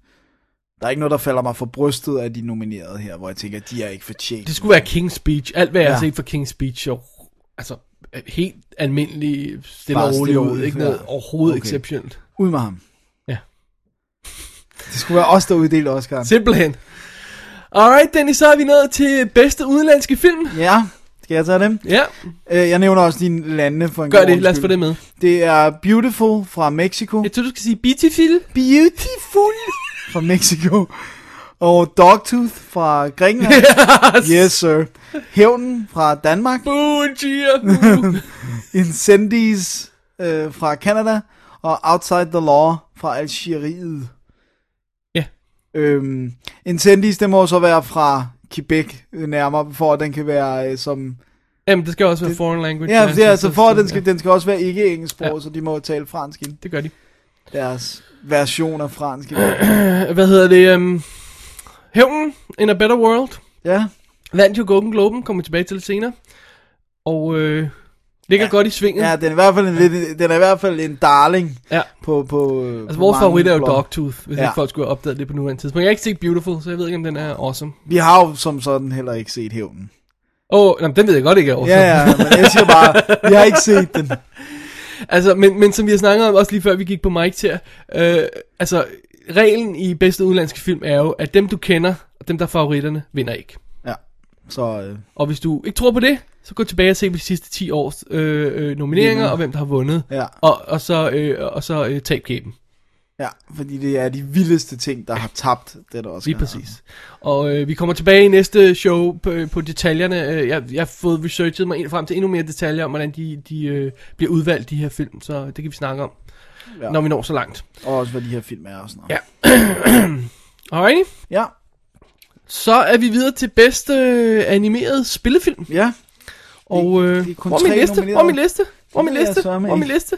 Der er ikke noget, der falder mig for brystet af de nominerede her, hvor jeg tænker, at de er ikke fortjent. det skulle være King's Speech. Alt hvad jeg ja. har Ja. set fra King's Speech, og, altså helt almindelig stille Bare og roligt stille ud. ud, Ikke ja. noget overhovedet okay. Okay. exceptionelt. Ud med ham. Ja. Det skulle være os, der uddelte Oscar. Simpelthen. Alright, Dennis, så er vi nået til bedste udenlandske film. Ja, skal jeg tage dem? Ja, Øh, Jeg nævner også dine lande for en gør god det. Lad os få undskyld. det med. Det er Beautiful fra Mexico. Jeg tror, du skal sige Beautiful. Beautiful fra Mexico. Og Dogtooth fra Grækenland. Yes, yes sir. Hævnen fra Danmark. Boo, cheer. Incendies øh, fra Canada. Og Outside the Law fra Algeriet. Ja. Øhm, Incendies, det må så være fra Quebec øh, nærmere, for at den kan være øh, som... Jamen, det skal også være foreign language. Ja, det er altså for, at den Ja, skal, den skal også være ikke engelsksprog, Ja. ja. så de må jo tale fransk i det gør de. deres version af fransk. Hvad hedder det? Um, Hævnen, In a Better World, Ja, vandt jo Golden Globen, kommer vi tilbage til det senere. Og øh, ligger ja. godt i svinget. ja Ja, den, er i hvert fald en, lidt, den er i hvert fald en darling ja. på... på øh, Altså, på vores mange favorit er jo blokke. Dogtooth, hvis ja. Ja. ikke folk skulle have opdaget det på nuværende tidspunkt. Jeg har ikke set Beautiful, så jeg ved ikke, om den er awesome. Vi har jo som sådan heller ikke set hævnen. Åh, oh, jamen, den ved jeg godt ikke er awesome. Ja, ja, men jeg siger bare, vi har ikke set den. Altså, men, men som vi har snakket om også lige før vi gik på mic til her, øh, altså, reglen i bedste udenlandske film er jo, at dem du kender, og dem der er favoritterne, vinder ikke. Ja, så... Øh, Og hvis du ikke tror på det, så gå tilbage og se på de sidste 10 års øh, øh, nomineringer, og hvem der har vundet. Ja. Og, og så, øh, og så øh, tab kæben. ja, fordi det er de vildeste ting, der har tabt det der også. Lige præcis. Og øh, vi kommer tilbage i næste show på, på detaljerne. Øh, Jeg, jeg har fået researchet mig ind frem til endnu mere detaljer om, hvordan de, de øh, bliver udvalgt, de her film. Så det kan vi snakke om, ja. Ja. når vi når så langt. Og også, hvad de her film er og sådan noget. Ja. Alrighty. Ja, Så er vi videre til bedste øh, animeret spillefilm. ja. Og øh, det er kun hvor er min tre liste? Hvor er min liste? Hvor er Det min ved jeg sørme liste? Hvor er min ikke. liste?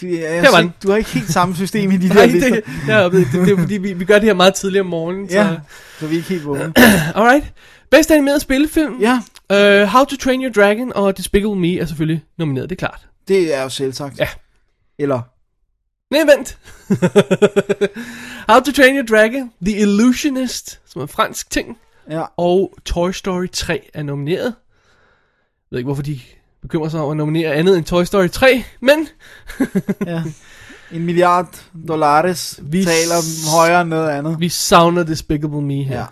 Du, jeg, Her var jeg, den. du har ikke helt samme system i de Nej, der lister. det, ja, det, det, det er fordi, vi, vi gør det her meget tidligere om morgenen. Så. Ja, så vi er ikke helt vågne. Alright. Bedste animeret spillefilm. Ja, Uh, How to Train Your Dragon og Despicable Me er selvfølgelig nomineret, det er klart. det er jo selvsagt. Ja. Eller, Nej, vent. How to Train Your Dragon, The Illusionist, som er en fransk ting, ja, og Toy Story 3 er nomineret. Jeg ved ikke, hvorfor de bekymrer sig om at nominere andet end Toy Story 3, men ja. En milliard dollars Vi vi taler s- højere end noget andet. vi savner Despicable Me her. Ja.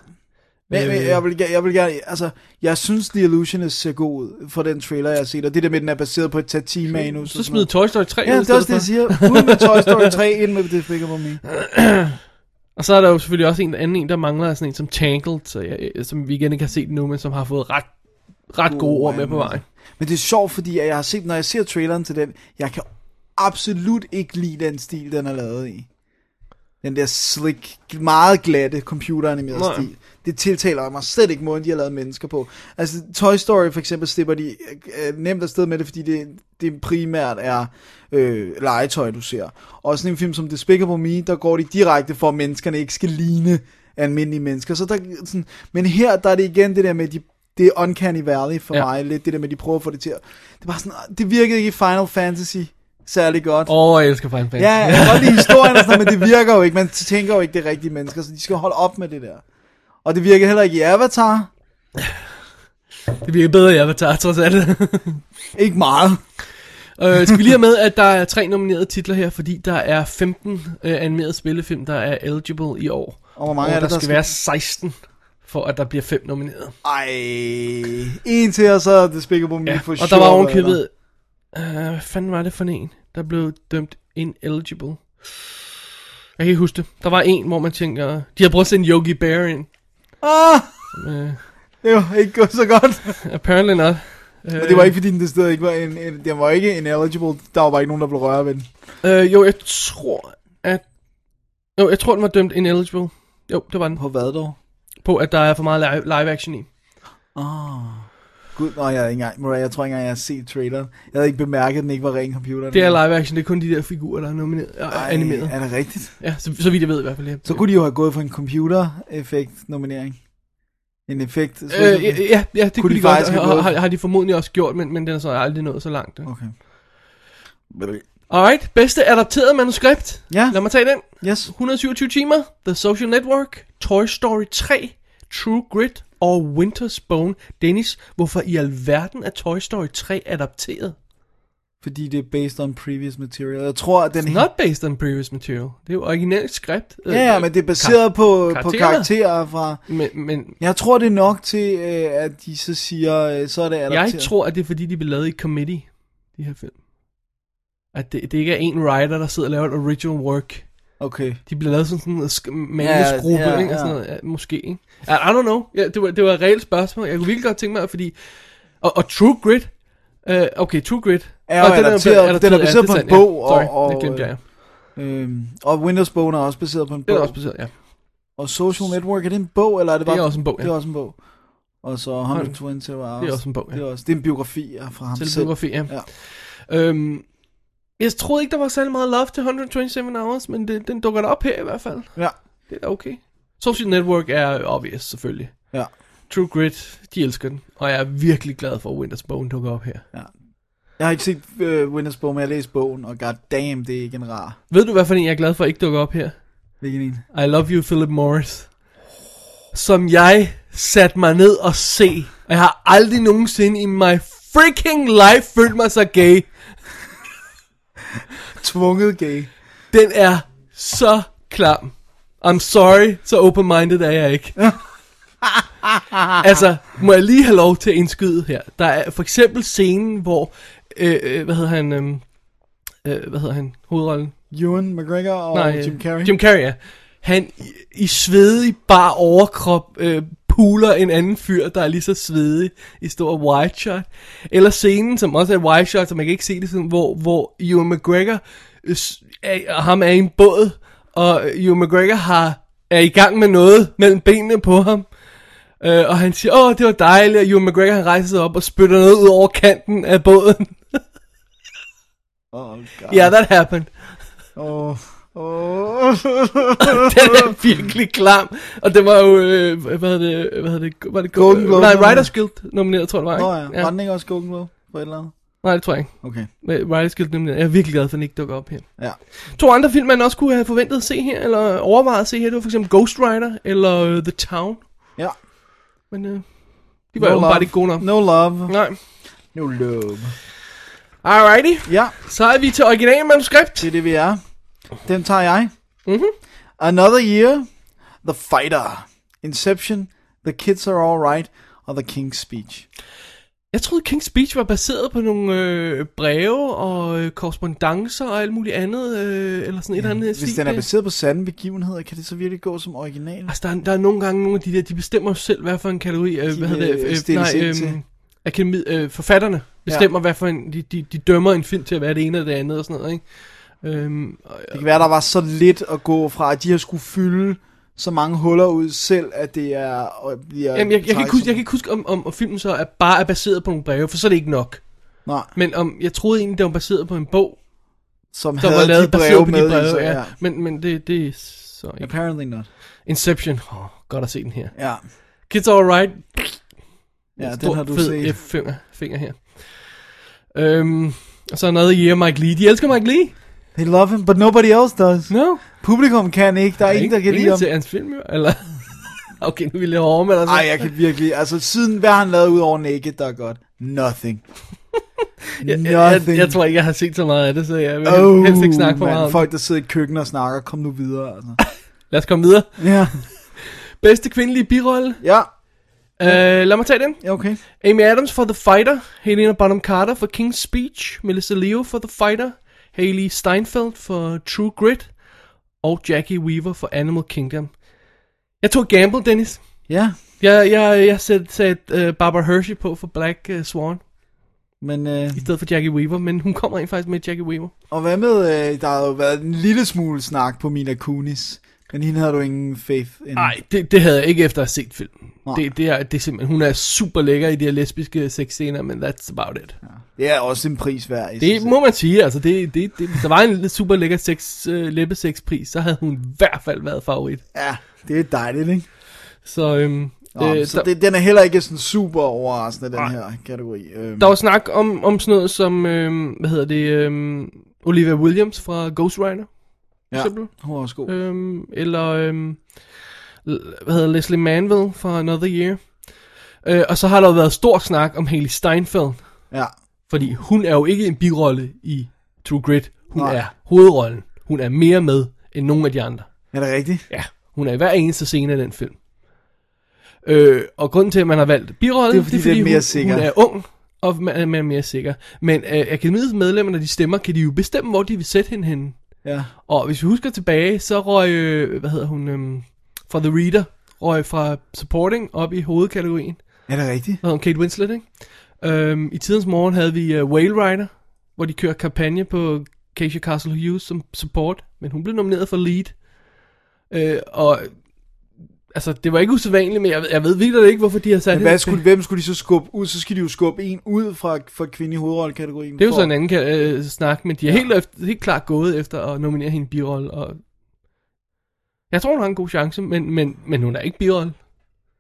Men, Øh, men jeg, vil, ge- jeg vil gerne, altså, jeg synes The Illusionist ser god ud for den trailer, jeg har set, og det der med, at den er baseret på et tati-manus. Så smid Toy Story 3 Ja, ud det er også det, stedet jeg for. siger. Uden med Toy Story 3, ind med Despicable Me. Og så er der jo selvfølgelig også en anden en, der mangler, sådan en som Tangled, så jeg, som vi igen ikke har set nu, men som har fået ret, ret gode Gode ord med på anmeldelser. vejen. Men det er sjovt, fordi at jeg har set, når jeg ser traileren til den, jeg kan absolut ikke lide den stil, den er lavet i. Den der slick, meget glatte computeranimerede Nej. stil. Det tiltaler mig slet ikke måden, de har lavet mennesker på. Altså Toy Story for eksempel slipper de øh, nemt afsted med det, fordi det, det primært er øh, legetøj, du ser. Og sådan en film som Despicable Me, der går de direkte for, at menneskerne ikke skal ligne almindelige mennesker. Så der, sådan, men her, der er det igen det der med, de, det er uncanny valley for Ja. ja. mig, lidt det der med, de prøver at få det til at, det var sådan, "Åh, det virkede ikke i Final Fantasy særlig godt. Åh, oh, jeg elsker Final Fantasy. Ja, jeg kan godt lide historien og sådan noget, men det virker jo ikke. Man tænker jo ikke, det er rigtige mennesker, så de skal holde op med det der. Og det virker heller ikke i Avatar. Det bliver bedre i Avatar, trods alt. Ikke meget. øh, skal vi lige have med, at der er tre nominerede titler her, fordi der er 15 øh, animerede spillefilm, der er eligible i år. Og hvor mange og er der, det, skal, være 16, for at der bliver fem nomineret. Ej, en til, og så er det spikket på mig for og der var ovenkøbet... Øh, hvad fanden var det for en, der blev dømt ineligible? Jeg kan ikke huske det. Der var en, hvor man tænker... De har brugt sådan en Yogi Bear ind. Ah, Øh, det var ikke gået så godt. apparently not. Øh. Men det var ikke, fordi den det sted ikke var en, en, den var ikke en eligible. Der var bare ikke nogen, der blev rørt ved den. Øh, jo, jeg tror, at... Jo, jeg tror, den var dømt ineligible. Jo, det var den. På hvad dog? På, at der er for meget live, live action i. Ah. Gud, nej, jeg, havde ikke engang, Mariah, jeg tror ikke engang, jeg har set traileren. Jeg havde ikke bemærket, at den ikke var ren computer. Det er live action, det er kun de der figurer, der er nomineret, Ej, animeret. Er det rigtigt? Ja, så, så vidt jeg ved i hvert fald. Ja. Så kunne de jo have gået for en computer-effekt-nominering. En effekt. så- Øh, ja, ja, ja, det kunne, Kunne de, de de faktisk godt, have har, gået- har, har de formodentlig også gjort, men, men den er så aldrig nået så langt. Okay. Okay. øh. Alright, bedste adapteret manuskript. Ja, Lad mig tage den. yes. 127 timer, The Social Network, Toy Story 3, True Grit og Winter's Bone. Dennis, hvorfor i alverden er Toy Story 3 adapteret? Fordi det er based on previous material. Jeg tror, at den... It's not based on previous material. Det er jo originalt skript. Ja, ja, men det er baseret på, på karakterer. karakterer fra... Men, men Jeg tror, det er nok til, øh, at de så siger, øh, så er det adapteret. jeg tror, at det er fordi, de blev lavet i committee, de her film. At det, det ikke er en writer, der sidder og laver et original work. Okay. De blev lavet som sådan en sk- manusgruppe, Ja, ja, ja, ja, ikke? Og sådan noget. Ja, måske, ikke? I, I don't know. Ja, det, var, det var et reelt spørgsmål. Jeg kunne virkelig godt tænke mig, fordi... Og, og True Grit... Øh, okay, True Grit... Er Nå, jo blevet adapteret- den er ja, baseret det på en sandt, ja. bog, og- Sorry, og, det glemte jeg. ja. Øhm, og Windows Bone er også baseret på en Det er bog. også baseret, ja. Og Social Network, er det en bog, eller er det Det bare... er også en bog, ja. Det er også en bog. Og så 120 Hours. Det er også en bog, ja. Det er, også, det er en biografi ja, fra ham selv. Selvbiografi, ja. Ja. Øhm, jeg troede ikke, der var særlig meget love til 127 Hours, men det, den dukker da op her i hvert fald. Ja. Det er da okay. Social Network er obvious, selvfølgelig. Ja. True Grit, de elsker den, og jeg er virkelig glad for, at Winter's Bone dukker op her. Jeg har ikke set øh, Windows Bone, men jeg har læst bogen, og goddamn, det er ikke en rar. Ved du, hvad for en jeg er glad for, ikke dukker op her? Hvilken en? I Love You, Philip Morris. Som jeg satte mig ned og se. Og jeg har aldrig nogensinde i my freaking life følt mig så gay. Tvunget gay. Den er så klam. I'm sorry, så open-minded er jeg ikke. altså, må jeg lige have lov til at indskyde her. Der er for eksempel scenen, hvor, øh, øh, hvad hedder han, øhm, øh, hvad hedder han, hovedrollen? Ewan McGregor og Nej, øh, Jim Carrey. Jim Carrey, ja. Han i, i svedig bar overkrop øh, puler en anden fyr, der er lige så svedig i stor wide shot. Eller scenen, som også er et wide shot, så man kan ikke se det, sådan, hvor, hvor Ewan McGregor øh, s- er, og ham er i en båd, og Ewan McGregor har, er i gang med noget mellem benene på ham. Øh, og han siger, åh, det var dejligt, og Ewan McGregor han rejser sig op og spytter noget ud over kanten af båden. Oh, God. yeah, that happened. Oh. Oh. den er virkelig klam. Og det var jo, øh, hvad hedder det, hvad hedder det, var det Golden Globe Nej, nomineret. Writers Guild nomineret, tror jeg, det var, Nå ikke? ja, var den ikke også Golden Globe for et eller andet? Nej, det tror jeg ikke. Okay. Men Writers Guild nomineret. Jeg er virkelig glad for, at den ikke dukker op her. Ja. To andre film, man også kunne have forventet at se her, eller overvejet at se her, det var for eksempel Ghost Rider, eller øh, The Town. Ja. Men øh, de var jo bare ikke gode nok. No love. Nej. No love. Alrighty, Ja, så er vi til originalmanuskript. det er det, vi er. Den tager jeg. Mhm. Another Year, The Fighter, Inception, The Kids Are Alright og The King's Speech. Jeg troede, King's Speech var baseret på nogle øh, breve og øh, korrespondencer og alt muligt andet, øh, eller sådan et eller andet. Hvis stil den er der. baseret på sande begivenheder, kan det så virkelig gå som original? Altså, der, er- der er nogle gange nogle af de der, de bestemmer jo selv, hvad for en kategori, øh, hvad hedder øh, det, øh, stilles nej, ind øh, til. akademi, øh, forfatterne bestemmer, ja. hvad for en, de, de, de dømmer en film til at være det ene eller det andet og sådan noget, ikke? Øhm, og, Det kan være, der var så lidt at gå fra, at de har skulle fylde så mange huller ud selv, at det er... Og bliver jamen, jeg, jeg, kan ikke huske, jeg kan ikke huske, om, om, om filmen så er, bare er baseret på nogle breve, for så er det ikke nok. Nej, Men om, jeg troede egentlig, det var baseret på en bog, som der havde var lavet de breve baseret på med. de i, breve, så- ja. Men, men det, det er så ikke. Apparently not. Inception. Åh, oh, godt at se den her. Ja, Kids Alright. ja den Stor, har du fed set. F-finger, finger her. Øhm, og så er noget i yeah, Mike Lee. De elsker Mike Lee. They love him, but nobody else does. No. Publikum kan ikke, der er ingen, der kan lide ham. til hans film, jo. Eller... okay, nu er vi lidt hårde, men altså... Ej, jeg kan virkelig, altså siden, hvad har han lavet ud over Naked, der er godt? Nothing. jeg, Nothing. jeg, jeg, jeg, tror ikke, jeg har set så meget af det, så jeg vil oh, oh, helst ikke snakke for meget om. folk der sidder i køkkenet og snakker, kom nu videre. Altså. det. Lad os komme videre. ja, Bedste kvindelige birolle. ja, Uh, lad mig tage den. ja, okay. Amy Adams for The Fighter, Helena Bonham Carter for King's Speech, Melissa Leo for The Fighter, Hailey Steinfeld for True Grit, og Jackie Weaver for Animal Kingdom. Jeg tog gamble, Dennis. Ja, Jeg, jeg, jeg satte sat, uh, Barbara Hershey på for Black uh, Swan, men, øh, i stedet for Jackie Weaver, men hun kommer rent faktisk med Jackie Weaver. og hvad med, øh, der har jo været en lille smule snak på Mina Kunis, men hende havde du ingen faith in. Nej, det, det havde jeg ikke efter at have set filmen. Mm. Nej. Det, det, er, det er simpelthen, hun er super lækker i de her lesbiske sexscener, men that's about it. Det er også en pris værd. i sig Det selv. må man sige, altså det, det, det, hvis der var en super lækker sex, øh, læbesexpris, så havde hun i hvert fald været favorit. Ja, det er dejligt, ikke? Så, øhm, Nå, øh, øh, så der, det, den er heller ikke sådan super overraskende, den her kategori. Øhm, der var snak om, om sådan noget som, øhm, hvad hedder det, øhm, Olivia Williams fra Ghost Rider, ja, simpel. hun var også god. øhm, eller øhm, l- hvad hedder Leslie Manville fra Another Year. Øh, og så har der jo været stor snak om Haley Steinfeld, Ja, fordi hun er jo ikke en birolle i True Grit, hun Nej. er hovedrollen. Hun er mere med end nogen af de andre. er det rigtigt? Ja, hun er i hver eneste scene af den film. Øh, og grunden til, at man har valgt birolle, Det er, fordi det er mere hun, sikker. hun er ung, og man er, man er mere sikker. Men øh, akademiets medlemmer, når de stemmer, kan de jo bestemme, hvor de vil sætte hende henne. Ja. Og hvis vi husker tilbage, så røg, øh, hvad hedder hun, øh, fra The Reader, røg fra supporting op i hovedkategorien. Er det rigtigt? Hvad hedder hun, Kate Winslet, ikke? Øhm, I tidens morgen havde vi uh, Whale Rider, hvor de kører kampagne på Keisha Castle Hughes som support, men hun blev nomineret for lead. Øh, og altså, det var ikke usædvanligt, men jeg, ved- jeg ved virkelig ikke, hvorfor de har sat Men hende hvad til. skulle, hvem skulle de så skubbe ud? Så skal de jo skubbe en ud fra, fra kvinde i hovedrollekategorien. Det er jo for- så en anden ka- øh, snak, men de er ja. helt, efter, helt klart gået efter at nominere hende i birolle, og jeg tror, hun har en god chance, men, men, men hun er ikke birolle.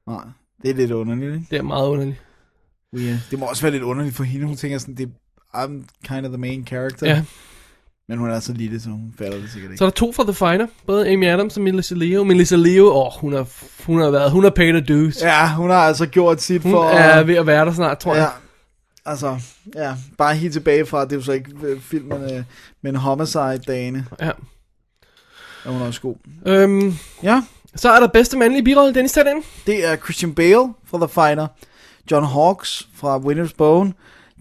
Nej, det er lidt underligt, ikke? Det er meget underligt. Yeah. Det må også være lidt underligt for hende. Hun tænker sådan, det er, I'm kind of the main character. Ja. Men hun er så lille, så hun fatter det sikkert ikke. Så er der to fra The Fighter, både Amy Adams og Melissa Leo. Melissa Leo, åh, hun har, hun har været, hun har paid a dues. Ja, hun har altså gjort sit Hun for... er ved at være der snart, tror ja, jeg. altså, ja, bare helt tilbage fra, det er jo så ikke øh, filmen, øh, men Homicide-dagene, Ja. er hun også god. Øhm, Ja, så er der bedste mandlige birolle, Dennis tag den. Det er Christian Bale fra The Fighter, John Hawkes fra Winter's Bone,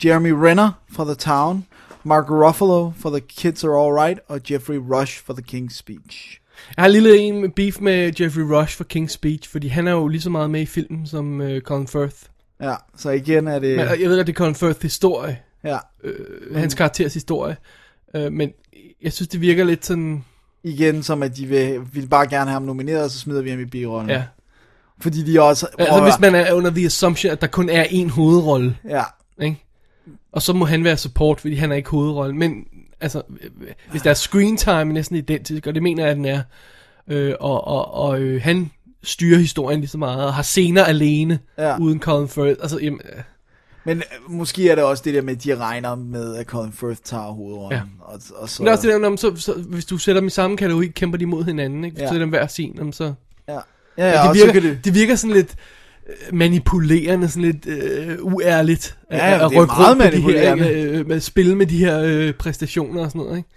Jeremy Renner fra The Town, Mark Ruffalo fra The Kids Are Alright og Jeffrey Rush fra The King's Speech. Jeg har en lille en med beef med Jeffrey Rush for King's Speech, fordi han er jo lige så meget med i filmen som øh, Colin Firth. Ja, så igen er det... Men, øh, jeg ved godt, det er Colin Firths historie, Ja, øh, hans karakters historie, øh, men jeg synes, det virker lidt sådan, igen som at de vil, vil bare gerne have ham nomineret, og så smider vi ham i birollen. ja. Fordi de også... Altså, hvis man er under the assumption, at der kun er én hovedrolle, Ja, Ikke? Og så må han være support, fordi han er ikke hovedrollen. Men altså, øh, hvis der er screen time er næsten identisk, og det mener jeg, at den er, øh, og, og, og øh, han styrer historien lige så meget, og har scener alene, Ja. ja. uden Colin Firth. Altså, jamen, øh, men øh, måske er det også det der med, at de regner med, at Colin Firth tager hovedrollen. Ja. Og, og så, men også det der, når man så, så, hvis du sætter dem i samme kategori, kæmper de mod hinanden. Ikke? Hvis Ja. du sætter dem hver sin, jamen, så... ja. Ja, ja, det, og så virker, kan det, det... det virker sådan lidt øh, manipulerende, sådan lidt øh, uærligt. Ja, ja, det er rykke meget rundt på de her, manipulerende. øh, med at spille med de her øh, præstationer og sådan noget, ikke?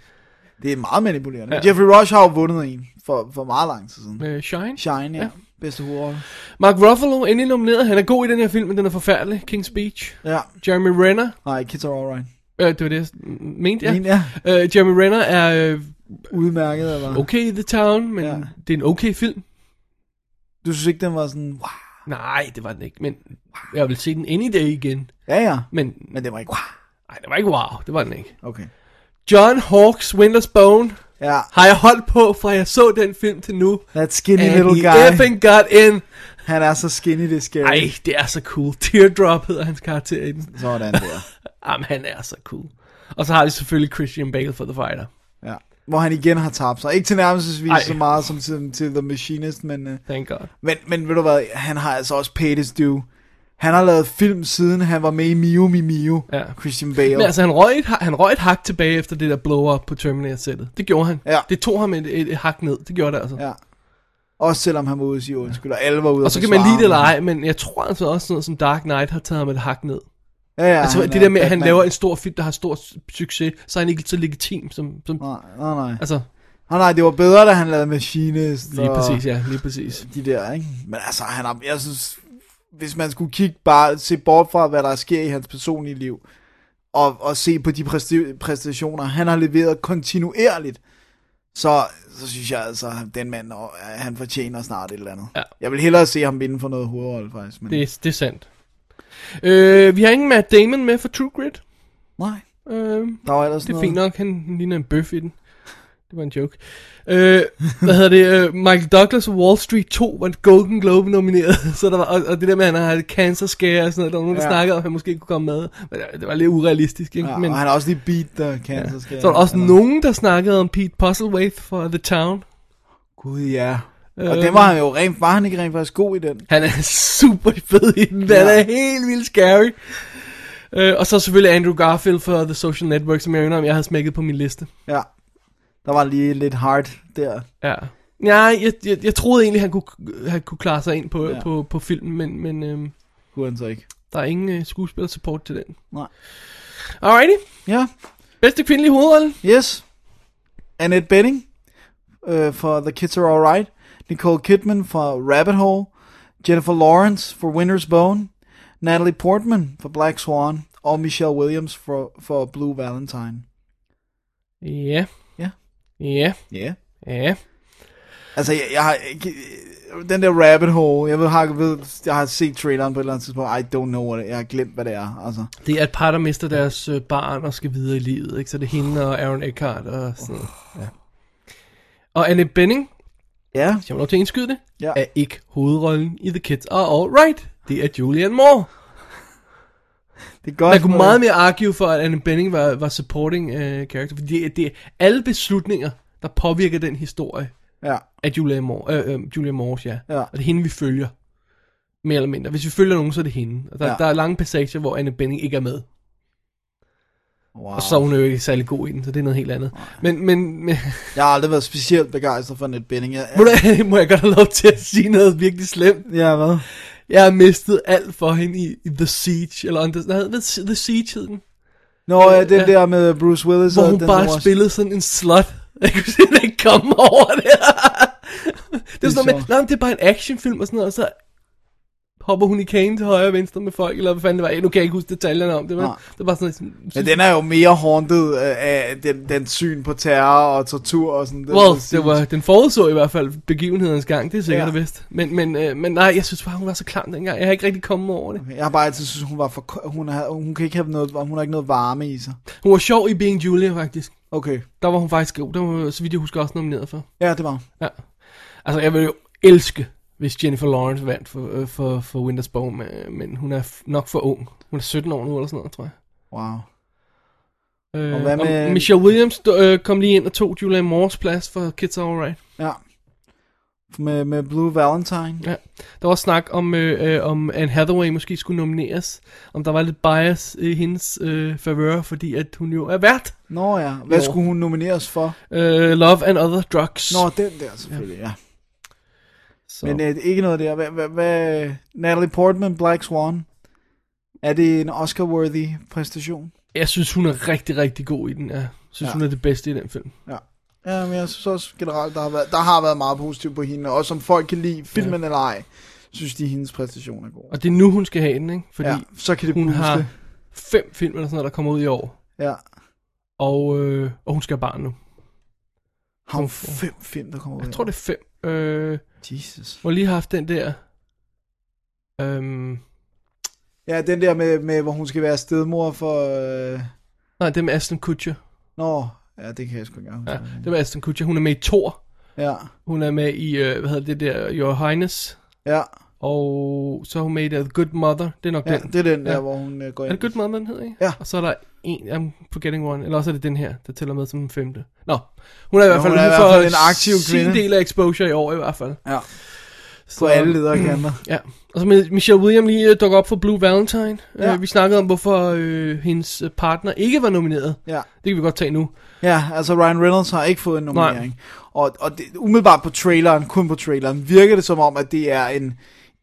det er meget manipulerende. Ja. Ja. Jeffrey Rush har jo vundet en for, for meget lang tid siden. Med Shine. Shine, ja. ja. Ja. Bedste hovedrolle. Mark Ruffalo, endelig nomineret. Han er god i den her film, men den er forfærdelig. King's Speech. Ja. Jeremy Renner. Nej, Kids Are Alright. Øh, det var det, jeg s- m- mente, Ja. ja. En er Øh, Jeremy Renner er øh, udmærket, eller? Okay. okay i The Town, men Ja. ja. det er en okay film. Du synes ikke, den var sådan... Wow. Nej, det var den ikke, men jeg vil se den any day igen. Ja, ja. Men Men det var ikke... Wow. nej, det var ikke wow, det var den ikke. Okay. John Hawks Winter's Bone Ja, har jeg holdt på, fra jeg så den film til nu. that skinny And little he guy. effing got in. Han er så skinny, det er scary. Ej, det er så cool. Teardrop hedder hans karakter i den. Sådan der. Jamen, han er så cool. Og så har de selvfølgelig Christian Bale for The Fighter. Ja. Hvor han igen har tabt sig. Ikke til nærmest Ej. så meget som til, til The Machinist, men, øh, Thank God. men, men ved du hvad, han har altså også paid his due. Han har lavet film siden han var med i Mio Mi Mio, Ja. Christian Bale. Men altså, han røg, et, ha- han røg et hak tilbage efter det der blow-up på Terminator-sættet. Det gjorde han. Ja. Det tog ham et, et, et hak ned. Det gjorde det altså. Ja. Også selvom han var ude og sige undskyld, og alle var ude Og så kan man lide det eller ej, men jeg tror altså også noget som Dark Knight har taget ham et hak ned. Ja, ja, Altså han det er der med, at han Batman. laver en stor film, der har stor s- succes, så er han ikke så legitim som... som Nej, nej, nej. altså, Nej, nej, det var bedre, da han lavede Machinist. lige og præcis, ja, lige præcis. De der, ikke? Men altså, han har, jeg synes, hvis man skulle kigge bare, se bort fra, hvad der sker i hans personlige liv, og, og se på de præsti- præstationer, han har leveret kontinuerligt, så, så synes jeg altså, at den mand, og- han fortjener snart et eller andet. Ja. Jeg vil hellere se ham vinde for noget hovedrolle, faktisk. Men... Det, er- det er sandt. Øh, vi har ingen Matt Damon med for True Grit. Nej, Øh, der var ellers det er noget. fint nok, han ligner en bøf i den. Det var en joke. Øh, hvad hedder det? Øh, Michael Douglas og Wall Street 2 var en Golden Globe nomineret. Så der var, og, og det der med, at han har et cancer scare og sådan noget. Der var nogen, der Ja. ja. snakkede om, at han måske kunne komme med. Men det- det var lidt urealistisk, ikke? Ja, men, og han har også lige beat der kan ja. Ja. så skal Så var der også eller- nogen, der snakkede om Pete Puzzlewaite fra The Town. Gud ja. Og Øh. det var han jo rent, var han ikke rent faktisk god i den? Han er super fed i den. Den Ja. er helt vildt scary. Øh, og så selvfølgelig Andrew Garfield for The Social Network, som jeg ønsker om, jeg havde smækket på min liste. Ja. Der var lige lidt hard der. Ja. Nej, jeg, jeg, jeg troede egentlig, han kunne, han kunne klare sig ind på, Ja. ja. på, på filmen, men, men øhm, Kunne han så ikke. der er ingen øh, skuespiller-support til den. Nej. Alrighty. Ja, Bedste kvindelige hovedrolle. yes. Annette Bening øh, for The Kids Are Alright. Nicole Kidman for Rabbit Hole. Jennifer Lawrence for Winter's Bone. Natalie Portman for Black Swan. Og Michelle Williams for, for Blue Valentine. Ja. Ja. Ja. Ja. Yeah. Ja. Altså, jeg, jeg har ikke... øh, Den der rabbit hole, jeg ved, har, ved, jeg har set traileren på et eller andet tidspunkt, I don't know what it, jeg har glemt, hvad det er, altså. Det er et par, der mister deres øh, barn og skal videre i livet, ikke? Så det er hende og Aaron Eckhart og sådan noget. Ja. Og Anne Benning, Ja, som lov til at indskyde det, Ja. er ikke hovedrollen i The Kids Are Alright. Det er Julianne Moore. det er godt. Man kunne meget mere argue for, at Anne Benning var, var supporting uh, character, fordi det, er- det er alle beslutninger, der påvirker den historie Ja, af Julianne Moore, øh, øh, Julianne Moores, ja. Ja. Og det er hende, vi følger. Mere eller mindre. Hvis vi følger nogen, så er det hende. Og der, Ja. ja. der er lange passager, hvor Anne Benning ikke er med. wow. Og så er hun jo ikke særlig god i den, så det er noget helt andet. Men, men, men Jeg har aldrig været specielt begejstret for Annette Bening. Jeg, Må, du, må jeg godt have lov til at sige noget virkelig slemt? ja, hvad? Jeg har mistet alt for hende i, i The Siege, eller under, nej, The, The Siege hed den, Nå, ja, den Øh, Ja. der med Bruce Willis. hvor og hun den bare der- spillede sådan en slut. Jeg kunne simpelthen ikke komme over det. det er sådan noget med, sjovt. nej, men det er bare en actionfilm og sådan noget, og så hopper hun i kagen til højre og venstre med folk, eller hvad fanden det var. Nu kan jeg ikke huske detaljerne om det, men Nej. det var bare sådan, sådan Men den er jo mere haunted øh, af den, den syn på terror og tortur og sådan. Well, det var, den forudså i hvert fald begivenhedens gang, det er sikkert Ja. ja. vist. Men, men, øh, men nej, jeg synes bare, hun var så klam dengang. Jeg har ikke rigtig kommet over det. Jeg har bare altid synes, hun var for... ko- Hun, har, hun kan ikke have noget... Hun har ikke noget varme i sig. Hun var sjov i Being Julia, faktisk. Okay. Der var hun faktisk god. Der var, hun, så vidt jeg husker, også nomineret for. Ja, det var hun. Ja. Altså, jeg ville jo elske, hvis Jennifer Lawrence vandt for, øh, for, for Winter's Bone, men, men hun er f- nok for ung. Hun er 17 år nu, eller sådan noget, tror jeg. Wow. Øh, Og hvad med- Michelle Williams d- øh, kom lige ind og tog Julianne Moores plads for Kids Are Alright. Ja. Med, med Blue Valentine. Ja. Der var også snak om, øh, øh, om Anne Hathaway måske skulle nomineres. Om der var lidt bias i hendes øh, favør, fordi at hun jo er vært. Nå ja, hvad Jo. skulle hun nomineres for? Øh, Love and Other Drugs. Nå, den der selvfølgelig, ja. så. Men øh, ikke noget der. Hvad, hvad, hvad, Natalie Portman, Black Swan. Er det en Oscar-worthy præstation? Jeg synes, hun er rigtig, rigtig god i den. Jeg synes, Ja. ja. hun er det bedste i den film. Ja. Ja, men jeg synes også generelt, der har været, der har været meget positivt på hende. Og som folk kan lide, filmen ja. eller ej, synes de, hendes præstation er god. Og det er nu, hun skal have den, ikke? Fordi Ja, ja. så kan det hun booste. har fem film eller sådan noget, der kommer ud i år. Ja. Og, øh, og hun skal have barn nu. Har hun fem film, der kommer ud? Jeg tror, det er fem. Øh, Jesus. hun har lige haft den der... Øhm, Ja, den der med, med hvor hun skal være stedmor for... Øh... nej, det er med Aston Kutcher. Nå, ja, det kan jeg sgu ikke engang Ja, huske. det er med Aston Kutcher. Hun er med i Thor. Ja. Hun er med i, øh, hvad hedder det der, Your Highness. Ja. Og så er hun med i The Good Mother. Det er nok ja, den. det er den der, Ja. hvor hun øh, går Er ind. det Good Mother, den hedder, ikke? Ja. Og så er der en, I'm forgetting one, eller også er det den her, der tæller med som den femte. Nå, hun er i hvert fald hun er i ude hvert for fald en aktiv sin kvinde. del af exposure i år i hvert fald. Ja. På alle ledere kanter. Ja, og så med Michelle William lige øh, dukker op for Blue Valentine. Ja. Ja. Øh, vi snakkede om, hvorfor øh, hendes øh, partner ikke var nomineret. Ja. Det kan vi godt tage nu. Ja, altså Ryan Reynolds har ikke fået en nominering. Og, og det, umiddelbart på traileren, kun på traileren, virker det som om, at det er en,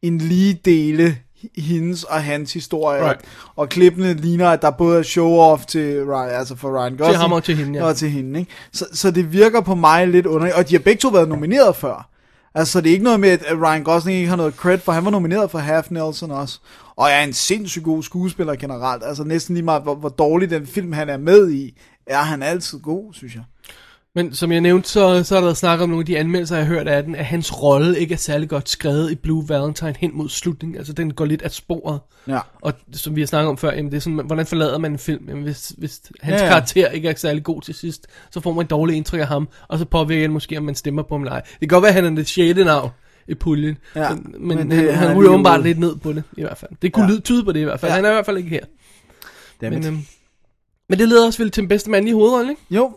en lige dele h- hendes og hans historie. Right. Og, og klippene ligner, at der både er show-off til Ryan, altså for Ryan Gosling. ham og til hende, ja. Og til hende, ikke? Så, så det virker på mig lidt underligt. Og de har begge to været nomineret før. Altså, så det er ikke noget med, at Ryan Gosling ikke har noget credit, for han var nomineret for Half Nelson også. Og er en sindssygt god skuespiller generelt. Altså, næsten lige meget, hvor, hvor dårlig den film, han er med i, er han altid god, synes jeg. Men som jeg nævnte, så, så har der været snak om nogle af de anmeldelser, jeg har hørt af den, at hans rolle ikke er særlig godt skrevet i Blue Valentine hen mod slutningen. Altså, den går lidt af sporet. Ja. Og som vi har snakket om før, jamen, det er sådan, man- hvordan forlader man en film? Jamen, hvis, hvis hans ja, Ja, ja. ja. karakter ikke er særlig god til sidst, så får man et dårligt indtryk af ham, og så påvirker det måske, om man stemmer på ham eller ej. Det kan godt være, at han er det sjette navn i puljen, ja, Ja, men, men, men, han, øh, han han er ryger lige åbenbart ude. lidt ned på det, i hvert fald. Det kunne Ja. ja. tyde på det i hvert fald. Ja. Ja. Han er i hvert fald ikke her. Dammit. Men, øhm, men det leder også vel til den bedste mand i hovedrollen, ikke? Jo.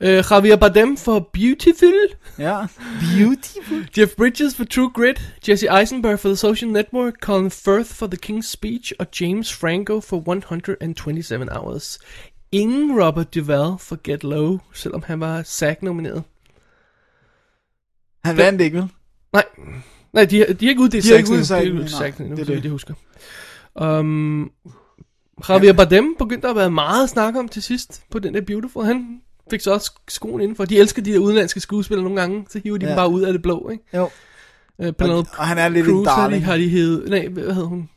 Øh, Javier Bardem for Beautiful. Ja. Beautiful. Jeff Bridges for True Grit, Jesse Eisenberg for The Social Network, Colin Firth for The King's Speech og James Franco for 127 Hours. Ingen Robert Duvall for Get Low, selvom han var SAG-nomineret. Han vandt ikke, vel? Nej, nej de, har- de har ikke uddelt De har ikke SAG'en endnu. uddelt De har ikke SAG'en, nej. uddelt SAG'en endnu, Det er så vidt det. jeg husker. Um, Javier Bardem begyndte at være meget at snakke om til sidst på den der Beautiful. Han fik så også skoen indenfor. De elsker de der udenlandske skuespillere nogle gange, så hiver de ja. Ja. dem bare ud af det blå, ikke? Jo. Øh, Og, Penelope og han er lidt en Cruise har de, darling. har de hed, nej, hvad hedder hun?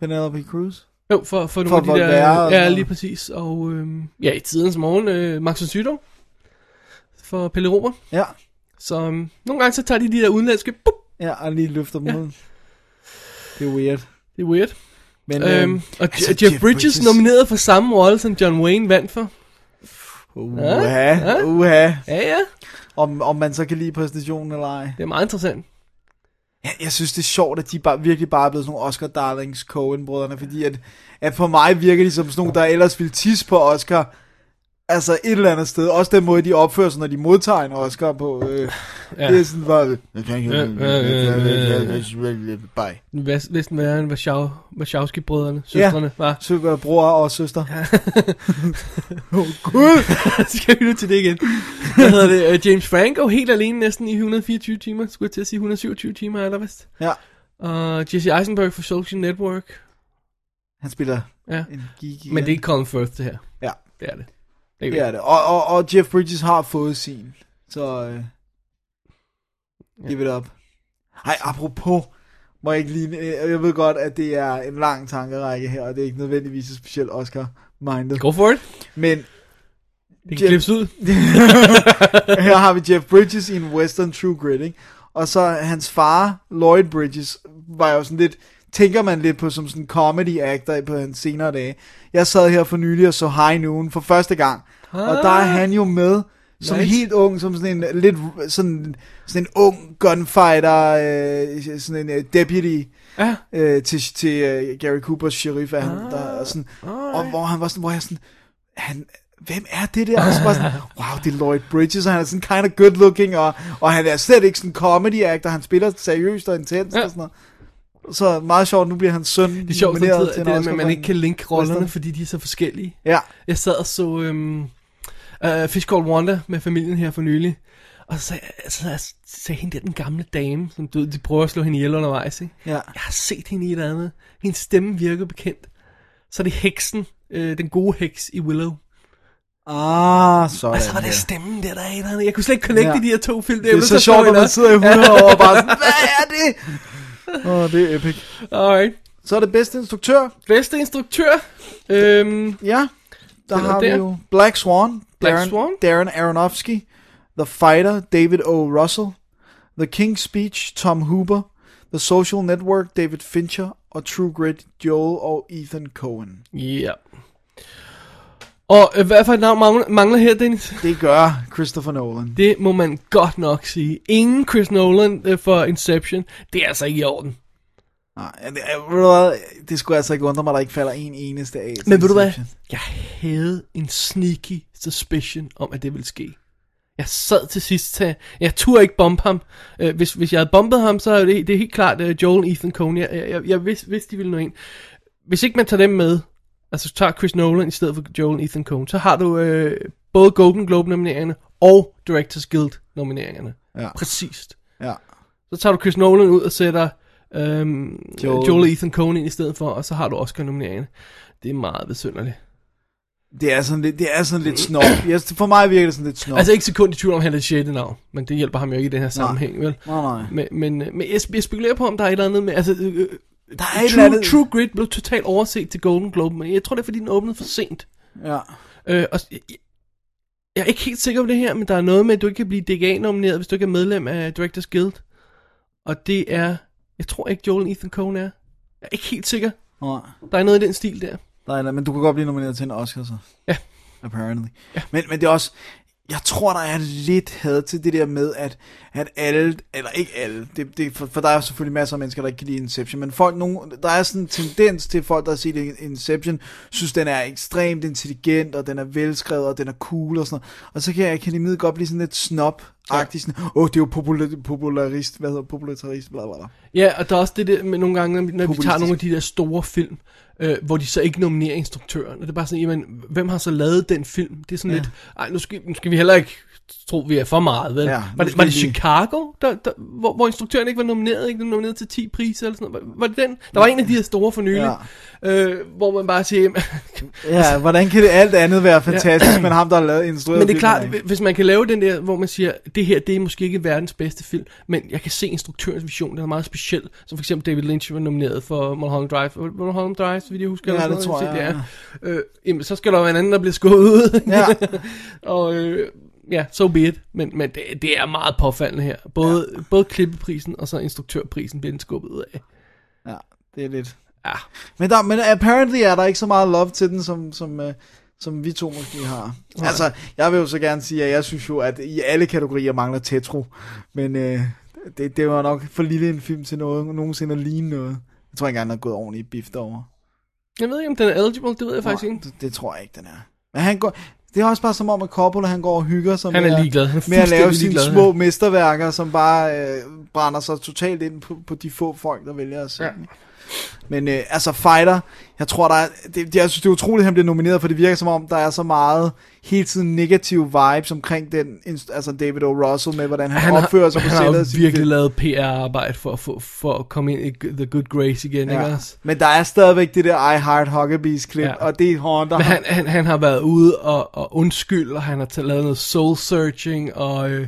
Penelope Cruz. Jo, for, for nogle For af de Voltaire der... og Ja, sådan lige noget. præcis. Og øhm, ja, i tidens morgen, øh, Max von Sydow for Pelle Romer. Ja. Så øhm, nogle gange så tager de de der udenlandske... Bup, Ja, og lige løfter dem Ja. ja. ud. Det er weird. det er weird. Men, Øhm, øhm, og altså, altså, Jeff, Jeff Bridges, Bridges nomineret for samme rolle, som John Wayne vandt for. uha, Ja. uha. Ja, ja. Om, om man så kan lide præstationen eller ej. Det er meget interessant. Jeg, jeg synes, det er sjovt, at de bare, virkelig bare er blevet sådan nogle Oscar darlings cohen brødrene fordi at, at for mig virker de som sådan nogle, der ellers ville tisse på Oscar, altså et eller andet sted. Også den måde, de opfører sig, når de modtager en Oscar på. Øh, Ja. ja. Det er sådan bare, Bye. Hvis, hvis den var en Warszaw, Warszawski-brødrene, søstrene, ja. var. søger bror og søster. så skal vi nu til det igen. Hvad hedder det? Øh, James Franco helt alene næsten i 124 timer. Skulle jeg til at sige 127 timer, eller hvad? Ja. Og Jesse Eisenberg for Social Network. Han spiller Ja. en geek igen. Men det er ikke Colin Firth, det her. Ja. Det er det. Det er det, er det. Og, og, og Jeff Bridges har fået sin. Så øh, give it up. Hej, apropos. Må jeg ikke lige... øh, Jeg ved godt, at det er en lang tankerække her, og det er ikke nødvendigvis et specielt Oscar-mindet. Go for it. Men Det kan Jim- klippes ud. her har vi Jeff Bridges i en western True Grit, ikke? Og så hans far, Lloyd Bridges, var jo sådan lidt, tænker man lidt på som sådan en comedy actor på hans senere dage. Jeg sad her for nylig og så High Noon for første gang, og der er han jo med som Nice. nice. helt ung, som sådan en lidt sådan, sådan en ung gunfighter, øh, sådan en øh, deputy Ja. øh, til, til øh, Gary Coopers sheriff er Ah, han, der, og, sådan, og hvor han var sådan, hvor jeg sådan, han, hvem er det der? Og så bare sådan, wow, det er Lloyd Bridges, og han er sådan kind of good looking, og, og han er slet ikke sådan comedy actor, han spiller seriøst og intens Ja. ja. og sådan noget. Så meget sjovt, nu bliver hans søn Det er sjovt, nomineret samtidig, til det en der med, Oscar at for man ikke en- kan linke rollerne, western. fordi de er så forskellige. Ja, Jeg sad og så øhm, uh, Fish Called Wanda med familien her for nylig. Og så sagde, så jeg- så sagde hende der, den gamle dame, som du, ved, de prøver at slå hende ihjel undervejs, ikke? ja. Jeg har set hende i et eller andet. Hendes stemme virker bekendt. Så er det heksen, øh, den gode heks i Willow. Ah, sådan. Og så var der. det stemmen der, der er et eller andet. Jeg kunne slet ikke connecte Ja. ja. de her to film. det er så sjovt, når man sidder i 100 år og bare sådan, hvad er det? Åh, oh, det er epic. Alright. Så er det bedste instruktør. Bedste instruktør. Øhm, Ja, der Den er har vi der. jo Black Swan, Black Darren, Swan? Darren Aronofsky, The Fighter, David O. Russell, The King's Speech, Tom Hooper, The Social Network, David Fincher, og True Grit, Joel og Ethan Cohen. ja. Og øh, hvad for et navn mangler, mangler her, Dennis? Det gør Christopher Nolan. Det må man godt nok sige. Ingen Chris Nolan øh, for Inception. Det er altså ikke i orden. Nej, ja, det, er- ved du hvad, det skulle altså ikke undre mig, at der ikke falder en eneste af. til Men ved du hvad? Inception. Jeg havde en sneaky suspicion om, at det ville ske. Jeg sad til sidst til, jeg turde ikke bombe ham. Øh, hvis, hvis jeg havde bombet ham, så er det, det er helt klart øh, Joel, Ethan Coen. Jeg, jeg, jeg vidste, vidste, de ville nå ind. Hvis ikke man tager dem med, altså tager Chris Nolan i stedet for Joel, Ethan Coen, så har du øh, både Golden Globe nomineringerne og Directors Guild nomineringerne. Ja. Præcist. Ja. Så tager du Chris Nolan ud og sætter øhm, Joel. Joel. Joel og Ethan Coen ind i stedet for, og så har du Oscar-nomineringerne. Det er meget besynderligt. Det er sådan lidt, det er sådan lidt snob. Jeg, for mig virker det sådan lidt snob. Altså ikke sekund i tvivl om, at han er det sjette navn, men det hjælper ham jo ikke i den her sammenhæng, vel? nej, nej. Men, men, øh, men jeg, jeg spekulerer på, om der er et eller andet med, altså... Øh, øh, Der er True, et eller andet. True Grit blev totalt overset til Golden Globe, men jeg tror, det er, fordi den åbnede for sent. Ja. Øh, og, jeg, jeg er ikke helt sikker på det her, men der er noget med, at du ikke kan blive DGA-nomineret, hvis du ikke er medlem af Directors Guild. Og det er... Jeg tror ikke, Joel Ethan Coen er. Jeg er ikke helt sikker. Nej. Der er noget i den stil der. Der er et eller andet. Men du kan godt blive nomineret til en Oscar, så. Ja. Apparently. Ja. Men, men det er også... Jeg tror, der er lidt had til det der med, at, at alle, eller ikke alle, det, det, for, for der er selvfølgelig masser af mennesker, der ikke kan lide Inception, men folk, nogen, der er sådan en tendens til folk, der har set Inception, synes, den er ekstremt intelligent, og den er velskrevet, og den er cool og sådan noget. Og så kan jeg kan de godt blive sådan lidt snob-agtig, sådan, åh, oh, det er jo popula- popularist, hvad hedder popularist, bla bla bla. Ja, og der er også det der med nogle gange, når vi- når vi Populistisk. tager nogle af de der store film, øh, hvor de så ikke nominerer instruktøren. Og det er bare sådan, jamen, hvem har så lavet den film? Det er sådan Ja. ja. lidt, ej, nu skal, nu skal vi heller ikke tro, vi er for meget, vel? Ja, Ja, nu var det, skal var vi det lige- Chicago, der, der, hvor, hvor instruktøren ikke var nomineret, ikke Den var nomineret til 10 priser eller sådan noget? Var, var det den? Der var en af de her store for nylig, ja. øh, hvor man bare siger, jamen, Ja, hvordan kan det alt andet være fantastisk, men ham, der har lavet instrueret Men det filmen, er klart, ikke? hvi- hvis man kan lave den der, hvor man siger, det her, det er måske ikke verdens bedste film, men jeg kan se instruktørens vision, den er meget speciel. Som for eksempel David Lynch var nomineret for Mulholland Drive. Var det Mulholland Drive, så vidt jeg husker. Ja, eller det sådan noget, tror jeg, Det er. Øh, jamen, så skal der være en anden, der bliver skudt ud. Ja. og øh, ja, so be it. Men, men det, det, er meget påfaldende her. Både, ja. både klippeprisen og så instruktørprisen bliver den skubbet ud af. Ja, det er lidt. Ja. Men, der, men apparently er der ikke så meget love til den, som, som, øh, som vi to måske har. Altså, jeg vil jo så gerne sige, at jeg synes jo, at i alle kategorier mangler Tetro. Men øh, det, det var nok for lille en film til noget, nogensinde at ligne noget. Jeg tror ikke engang, den er gået ordentligt i bift over. Jeg ved ikke, om den er eligible, det ved jeg faktisk ikke. det, det, tror jeg ikke, den er. Men han går, det er også bare som om, at Coppola han går og hygger sig Han med, er at- ligeglad. Han er med at lave fuldstændig sine ligeglad. små mesterværker, som bare øh, brænder sig totalt ind på, på de få folk, der vælger at se Ja. ja. Men øh, altså Fighter, jeg tror der er, det, det, jeg synes det er utroligt, at han bliver nomineret, for det virker som om, der er så meget hele tiden negative vibes omkring den, inst- altså David O. Russell med, hvordan han, han opfører sig på han har sættet. af jo sin virkelig film. lavet PR-arbejde for, at få- for at komme ind i The Good Grace igen, ja. ikke også? Men der er stadigvæk det der I Heart Huckabees klip, ja. Ja. og det håndter Men ham. han, han, han har været ude og, og undskylde, og han har t- lavet noget soul-searching, og, øh,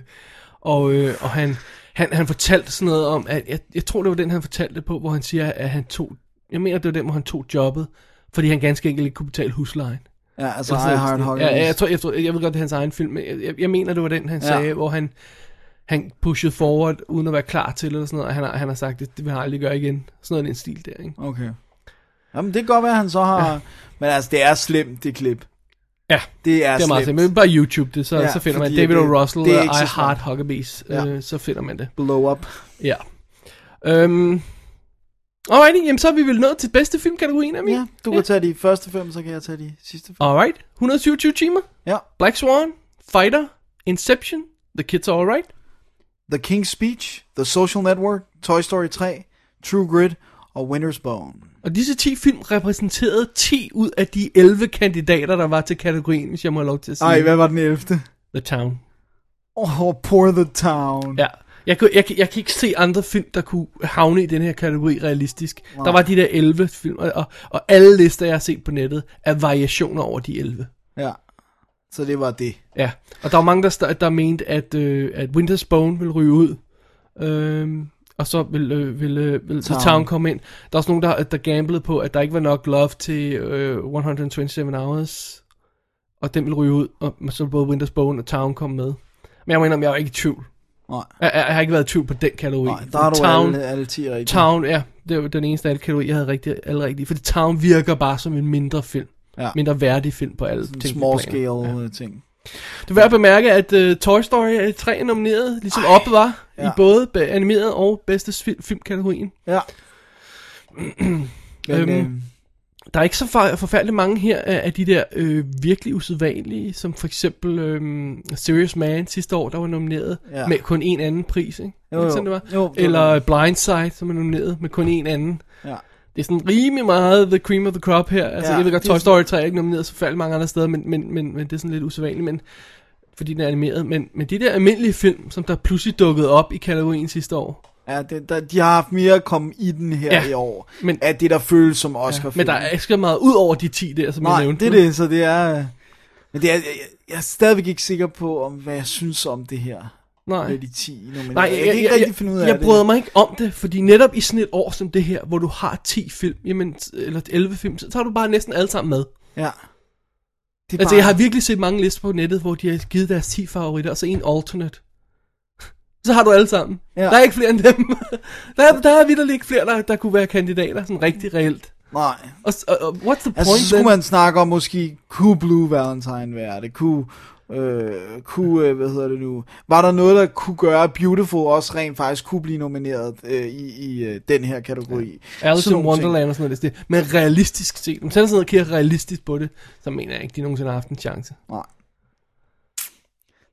og, øh, og han, han, han fortalte sådan noget om, at jeg, jeg tror, det var den, han fortalte det på, hvor han siger, at han tog, jeg mener, det var den, hvor han tog jobbet, fordi han ganske enkelt ikke kunne betale huslejen. Ja, altså I Eller sådan noget. Heart Huckabees. ja, ja, jeg, tror, jeg, tror, jeg ved godt, det er hans egen film, men jeg, jeg, jeg mener, det var den, han Ja. ja. sagde, hvor han, han pushede forward, uden at være klar til det, eller sådan noget, og han har, han har sagt, det, det vil han aldrig gøre igen. Sådan noget i den stil der, ikke? Okay. Jamen, det kan godt være, at han så har... Ja. Men altså, det er slemt, det klip. Ja, Det er, det er meget slemt. simpelt. Men bare YouTube det, så, Ja, ja, så finder man fordi David det- O. Russell det er og ikke I så svært. Heart Huckabees, Ja. ja. øh, så finder man det. Blow up. Ja. Øhm. Alright, jamen så er vi vel nået til bedste filmkategorien, er vi? Ja, du kan tage de første fem, så kan jeg tage de sidste fem. Alright, 127 timer, Ja. Black Swan, Fighter, Inception, The Kids Are Alright, The King's Speech, The Social Network, Toy Story 3, True Grit og Winter's Bone. Og disse 10 film repræsenterede 10 ud af de 11 kandidater, der var til kategorien, hvis jeg må have lov til at sige. Ej, hvad var den 11. The Town. Oh, poor the town. Ja. Jeg, kunne, jeg, kan- jeg kan ikke se andre film, der kunne havne i den her kategori realistisk. Wow. Der var de der 11 film, og, og, og alle lister, jeg har set på nettet, er variationer over de 11. ja. Så det var det. Ja, og der var mange, der, sta- der mente, at, øh, at Winter's Bone ville ryge ud, øhm, og så ville, øh, ville, øh, ville Town. Town. Town komme ind. Der er også nogen, der, der gamblede på, at der ikke var nok love til øh, 127 Hours, og den ville ryge ud, og så ville både Winter's Bone og Town komme med. Men jeg må indrømme, jeg var ikke i tvivl. Nej. Jeg, jeg, jeg har ikke været i tvivl på den kategori. Nej, der er du Town, alle, alle 10 rigtigt. Town, ja, det var den eneste af alle kategorier, jeg havde rigtig, alle rigtige, fordi Town virker bare som en mindre film. Ja. Mindre værdig film på alle Sådan tænkelige Small planer. scale ja. ting. Det er værd at bemærke, at uh, Toy Story uh, 3 er nomineret, ligesom Ej, op var, ja. ja. i både be- animeret og bedste fi- filmkategorien. Ja. Men, Øhm, øh, Der er ikke så for- forfærdeligt mange her af, af de der øh, virkelig usædvanlige, som for eksempel øh, Serious Man sidste år, der var nomineret Ja. ja. med kun en anden pris, ikke? Jo, Ikke jo. Sådan, det var? Jo, det var Eller Blindside, som er nomineret med kun en anden. ja. Det er sådan rimelig meget the cream of the crop her. Altså, Ja, ja, jeg ved godt, det er Toy Story 3 er ikke nomineret så forfærdeligt mange andre steder, men, men, men, men det er sådan lidt usædvanligt, men, fordi den er animeret. Men, men de der almindelige film, som der pludselig dukkede op i kategorien sidste år. Ja, det, der, de har haft mere at komme i den her ja, Ja, i år, men, men- af det, der føles som oscar ja, Men der er ikke så meget ud over de 10 der, som jeg Nej, nævnte. det er det, så det er... øh, Men det er, jeg, jeg er stadigvæk ikke sikker på, om hvad jeg synes om det her. Nej. Med de 10 nummer. Nej, jeg, kan ikke rigtig finde ud af jeg det. bryder mig ikke om det, fordi netop i sådan et år som det her, hvor du har 10 film, jamen, eller 11 film, så tager du bare næsten alle sammen med. Ja. Det er Altså, jeg har virkelig set mange lister på nettet, hvor de har givet deres 10 favoritter, og så en alternate. Så har du alle sammen. Ja. Ja. Der er ikke flere end dem. der, er, der er vitterligt ikke flere, der, der kunne være kandidater, sådan rigtig reelt. Nej. Og, s- og, og what's the point Altså, så skulle then? man snakke om måske, kunne Blue Valentine være det? Kunne, øh, kunne øh, hvad hedder det nu? Var der noget, der kunne gøre at Beautiful også rent faktisk kunne blive nomineret øh, i, i øh, den her kategori? Alice Sådan in nogle ting. Wonderland og sådan noget. det- Men realistisk set, om sådan noget kigger realistisk på det, så mener jeg ikke, de nogensinde har haft en chance. Nej.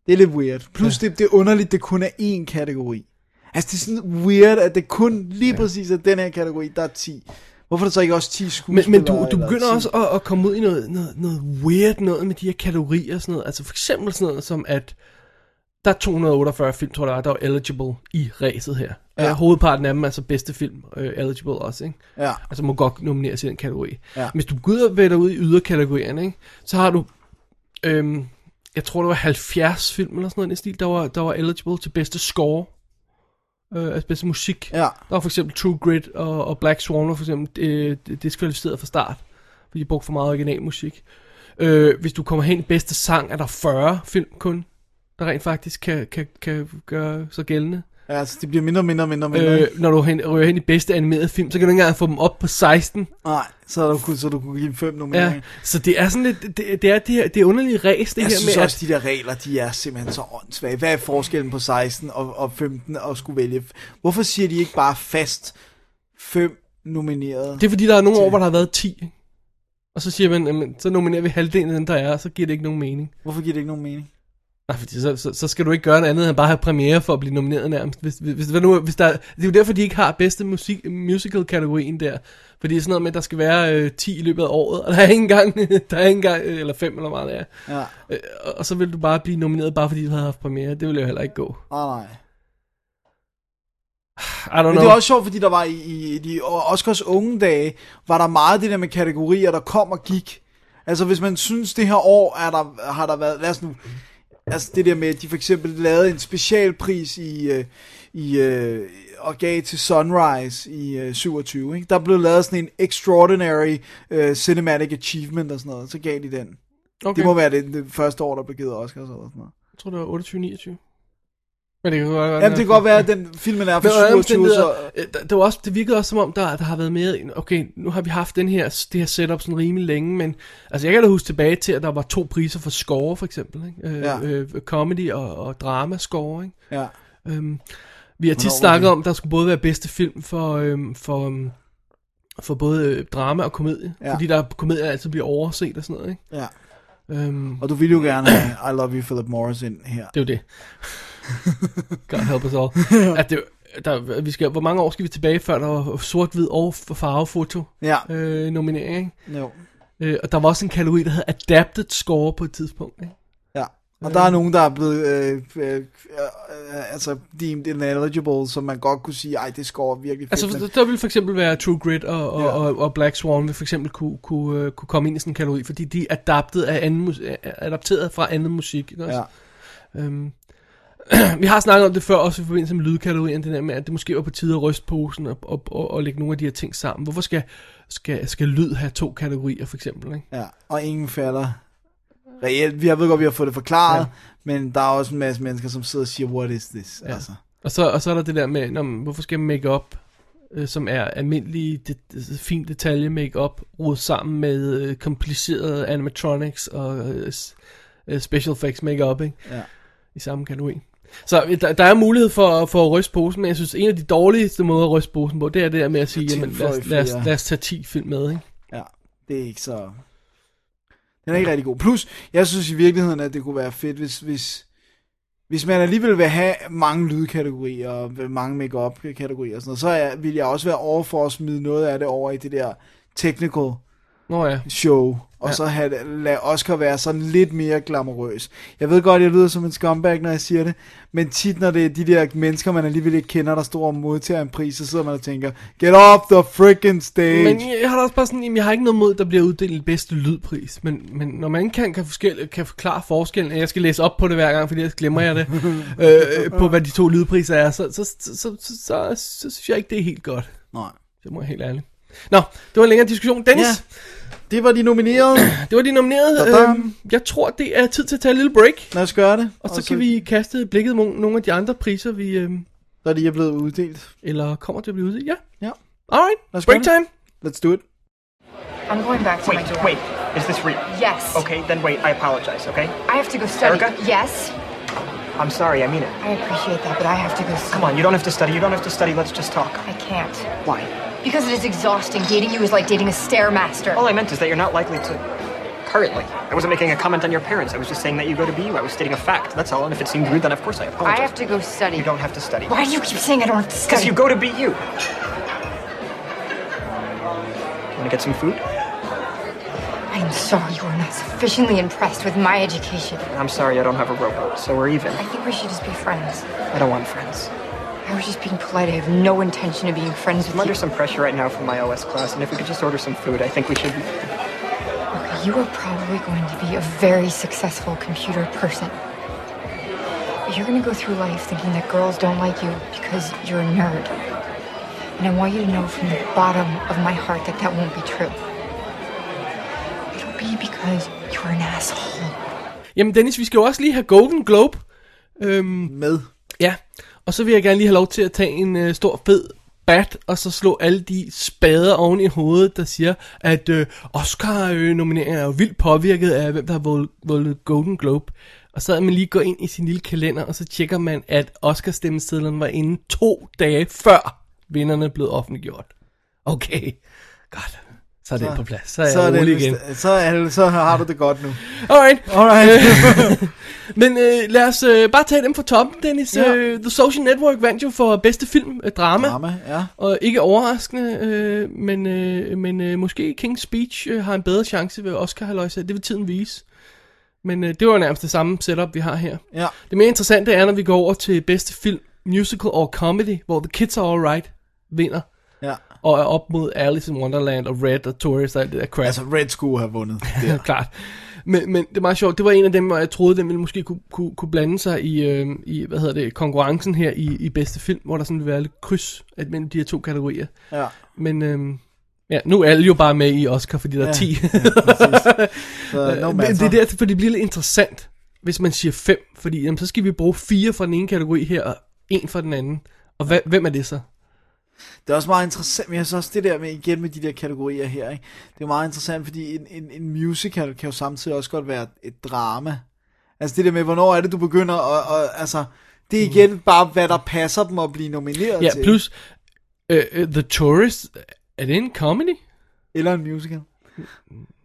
Det er lidt weird. Plus det, det er underligt, det kun er én kategori. Altså, det er sådan weird, at det kun lige ja. præcis er den her kategori, der er 10. Hvorfor er der så ikke også 10 Men, skuespillere? men du, du eller begynder 10? også at, at komme ud i noget, noget, noget weird noget med de her kategorier og sådan noget. Altså for eksempel sådan noget som, at der er 248 film, tror jeg, der er, der er eligible i ræset her. Ja. Ja. Hovedparten af dem er altså bedste film øh, eligible også, ikke? Ja, Altså må godt nomineres i den kategori. Ja. Hvis du går ud og vælger ud i yderkategorierne, ikke? så har du, øhm, jeg tror det var 70 film eller sådan noget i den stil, der var, der var eligible til bedste score. Øh, altså bedste musik. ja, Der var for eksempel True Grit og, og Black Swan var for eksempel øh, diskvalificeret fra start, fordi de brugte for meget originalmusik. Øh, hvis du kommer hen i bedste sang, er der 40 film kun, der rent faktisk kan, kan, kan gøre sig gældende. ja. Altså, det bliver mindre, mindre, mindre, mindre. Øh, når du hen, ryger hen i bedste animerede film, så kan du ikke engang få dem op på 16. Nej, så, er du, kun- så du kunne give 5 nomineringer. Ja, så det er sådan lidt, det, det er det her, det er underlige ræs, det Jeg her synes med, også, at de der regler, de er simpelthen så åndssvage. Hvad er forskellen på 16 og, og 15 og skulle vælge? Hvorfor siger de ikke bare fast fem nominerede? at, det er fordi, der er nogle år, hvor der har været 10, ikke? og så siger man, jamen, så nominerer vi halvdelen af den, der er, og så giver det ikke nogen mening. Hvorfor giver det ikke nogen mening? Nej, fordi så, så, så skal du ikke gøre noget andet end bare have premiere for at blive nomineret nærmest. Hvis, hvis, hvis, hvad nu, hvis der, det er jo derfor, de ikke har bedste musik, musical-kategorien der. Fordi det er sådan noget med, at der skal være øh, 10 i løbet af året, og der er ikke engang, der er ikke engang øh, eller 5 eller hvor meget der er. Ja, Øh, og, og så vil du bare blive nomineret, bare fordi du havde haft premiere. Det ville jo heller ikke gå. nej, nej. I Men don't know. det er også sjovt, fordi der var i, i de Oscars unge dage, var der meget det der med kategorier, der kom og gik. Altså hvis man synes, det her år er der, har der været, lad os nu, altså det der med, at de for eksempel lavede en specialpris i, øh, i øh, og gav til Sunrise i øh, 27, ikke? der blev lavet sådan en Extraordinary øh, Cinematic Achievement og sådan noget, så gav de den. Okay. okay. Det må være det, det første år, der blev givet Oscars eller sådan noget. Jeg tror, det var 28-29. Men det kan godt være... den Jamen det er- kan godt være, at den filmen er Men fra under alle 27, så... omstændigheder, øh, der- det, var også, det virkede også som om, der, der har været mere... en- Okay, nu har vi haft den her, det her setup sådan rimelig længe, men... Altså, jeg kan da huske tilbage til, at der var to priser for score, for eksempel. Ikke? Øh, Ja. ja. øh, comedy og, og drama score, ikke? Ja. Øhm, vi har tit Hvornår var snakket det? om, at der skulle både være bedste film for, øhm, for, øhm, for både øh, drama og komedie. Ja. Ja. Fordi der komedier altid bliver overset og sådan noget, ikke? Ja. Øhm, Og du ville jo gerne have I Love You Philip Morris ind her. Det er jo det. God help us all. At det, der, vi skal, hvor mange år skal vi tilbage, før der var sort-hvid og farvefoto Ja, øh, nominering? ikke? jo. Øh, og der var også en kategori, der hed Adapted Score på et tidspunkt. Ikke? Ja. Og der er nogen, der er blevet, øh, øh, øh, øh, altså, deemed ineligible, som man godt kunne sige, ej, det scorer virkelig fedt. Altså, men- for- der ville for eksempel være True Grit og, og, Ja. ja. og, og Black Swan vil for eksempel kunne, kunne, øh, kunne komme ind i sådan en kategori, fordi de er adaptet, af anden mus- er- er adapteret fra anden musik. Ikke? også? ja. Øhm, vi har snakket om det før, også i forbindelse med lydkategorien, det der med, at det måske var på tide at ryste posen og, og, og, og lægge nogle af de her ting sammen. Hvorfor skal, skal, skal lyd have to kategorier, for eksempel? Ikke? ja, og ingen falder. Reelt, vi- jeg ved godt, vi har fået det forklaret, ja. men der er også en masse mennesker, som sidder og siger, what is this? Ja. Altså, Og, så, og så er der det der med, nå, men hvorfor skal make-up, øh, som er almindelig, det, det, fin detalje make-up, rodet sammen med øh, komplicerede animatronics og øh, s- øh, special effects make-up ikke? Ja. i samme kategori? Så øh, der, der er mulighed for, for at ryste posen, men jeg synes, en af de dårligste måder at ryste posen på, det er det der med at sige, jamen lad os, lad, os, Tilføj flere. lad os tage 10 film med, ikke? Ja, det er ikke så... Den er ikke rigtig god. Plus, jeg synes i virkeligheden, at det kunne være fedt, hvis, hvis, hvis man alligevel vil have mange lydkategorier og vil mange make-up kategorier og sådan noget, så er, vil jeg også være over for at smide noget af det over i det der technical Nå ja. show, og ja. Ja. så have, det- lade Oscar være sådan lidt mere glamorøs. Jeg ved godt, jeg lyder som en scumbag, når jeg siger det, men tit når det er de der mennesker, man alligevel ikke kender, der står og modtager en pris, så sidder man og tænker, get off the freaking stage! Men jeg har da også bare sådan, jamen, jeg har ikke noget mod, at der bliver uddelt bedste lydpris, men, men når man ikke kan, kan, forskel, kan forklare forskellen, at jeg skal læse op på det hver gang, fordi ellers glemmer jeg det, øh, på hvad de to lydpriser er, så, så, så, så, så, så, så synes jeg ikke, det er helt godt. Nej. Det må jeg helt ærligt. Nå, det var en længere diskussion. Dennis, ja. Det var de nominerede. det var de nominerede. Sådan. Øhm, jeg tror, det er tid til at tage en lille break. Lad os gøre det. Og så kan vi kaste et blikket mod nogle af de andre priser, vi... Øhm, Der lige er blevet uddelt. eller kommer til at blive ude. Ja. Ja. Alright, Lad os break gøre time. Let's do it. I'm going back to my dorm. Wait, wait. Is this real? Yes. Okay, then wait. I apologize, okay? I have to go study. Erica? Yes, I'm sorry, I mean it. I appreciate that, but I have to go study. Come on, you don't have to study. You don't have to study. Let's just talk. I can't. Why? Because it is exhausting. Dating you is like dating a stairmaster. All I meant is that you're not likely to. Currently. I wasn't making a comment on your parents. I was just saying that you go to BU. I was stating a fact. That's all. And if it seemed rude, then of course I I apologize. have to go study. You don't have to study. Why do you keep saying I don't have to Because study? you go to BU. You wanna get some food? I'm sorry you are not sufficiently impressed with my education. I'm sorry, I don't have a robot, so we're even. I think we should just be friends. I don't want friends. I was just being polite. I have no intention of being friends I'm with under you. some pressure right now from my OS class, and if we could just order some food, I think we should. Okay, you are probably going to be a very successful computer person. But You're going to go through life thinking that girls don't like you because you're a nerd. And I want you to know from the bottom of my heart that that won't be true. It'll be because you're an asshole. Jamen Dennis, vi skal jo også lige have Golden Globe. Øhm, Med. ja, og så vil jeg gerne lige have lov til at tage en øh, stor fed bat, og så slå alle de spader oven i hovedet, der siger, at øh, Oscar-nomineringen er jo vildt påvirket af, hvem der har vundet- vundet Golden Globe. Og så havde man lige går ind i sin lille kalender, og så tjekker man, at Oscar-stemmesedlerne var inde to dage før vinderne blev offentliggjort. Okay, godt. Så er det på plads. Så er jeg Så, er det, rolig igen. så, er det, så har du det godt nu. Alright. Alright. Men øh, lad os øh, bare tage dem fra toppen, Dennis. Ja. Ja. Øh, The Social Network vandt jo for bedste film øh, drama. Drama, ja. Og ikke overraskende, øh, men, øh, men øh, måske King's Speech øh, har en bedre chance ved oscar haløjse Det vil tiden vise. Men øh, det var jo nærmest det samme setup, vi har her. Ja. Det mere interessante er, når vi går over til bedste film, musical or comedy, hvor The Kids Are Alright vinder. ja. Og er op mod Alice in Wonderland og Red og Tourist og alt det der crap. Altså, Red skulle have vundet. Der. Ja. Klart. Men, men det er meget sjovt. Det var en af dem, hvor jeg troede, den ville måske kunne, kunne, kunne blande sig i, øh, i, hvad hedder det, konkurrencen her i, i bedste film, hvor der sådan ville være lidt kryds at- mellem de her to kategorier. Ja. Men øh, ja, nu er alle jo bare med i Oscar, fordi der ja. er 10. Så, no men det matter. er der, for det bliver lidt interessant, hvis man siger 5, fordi jamen, så skal vi bruge fire fra den ene kategori her, og en fra den anden. Og hvad, hvem er det så? Det er også meget interessant, men jeg synes også det der med, igen med de der kategorier her, ikke? det er meget interessant, fordi en, en, en musical kan jo samtidig også godt være et drama. Altså det der med, hvornår er det, du begynder, og, og altså, det er igen mm. bare, hvad der passer dem at blive nomineret Ja, til. plus øh, øh, The Tourist, er det en comedy? Eller en musical.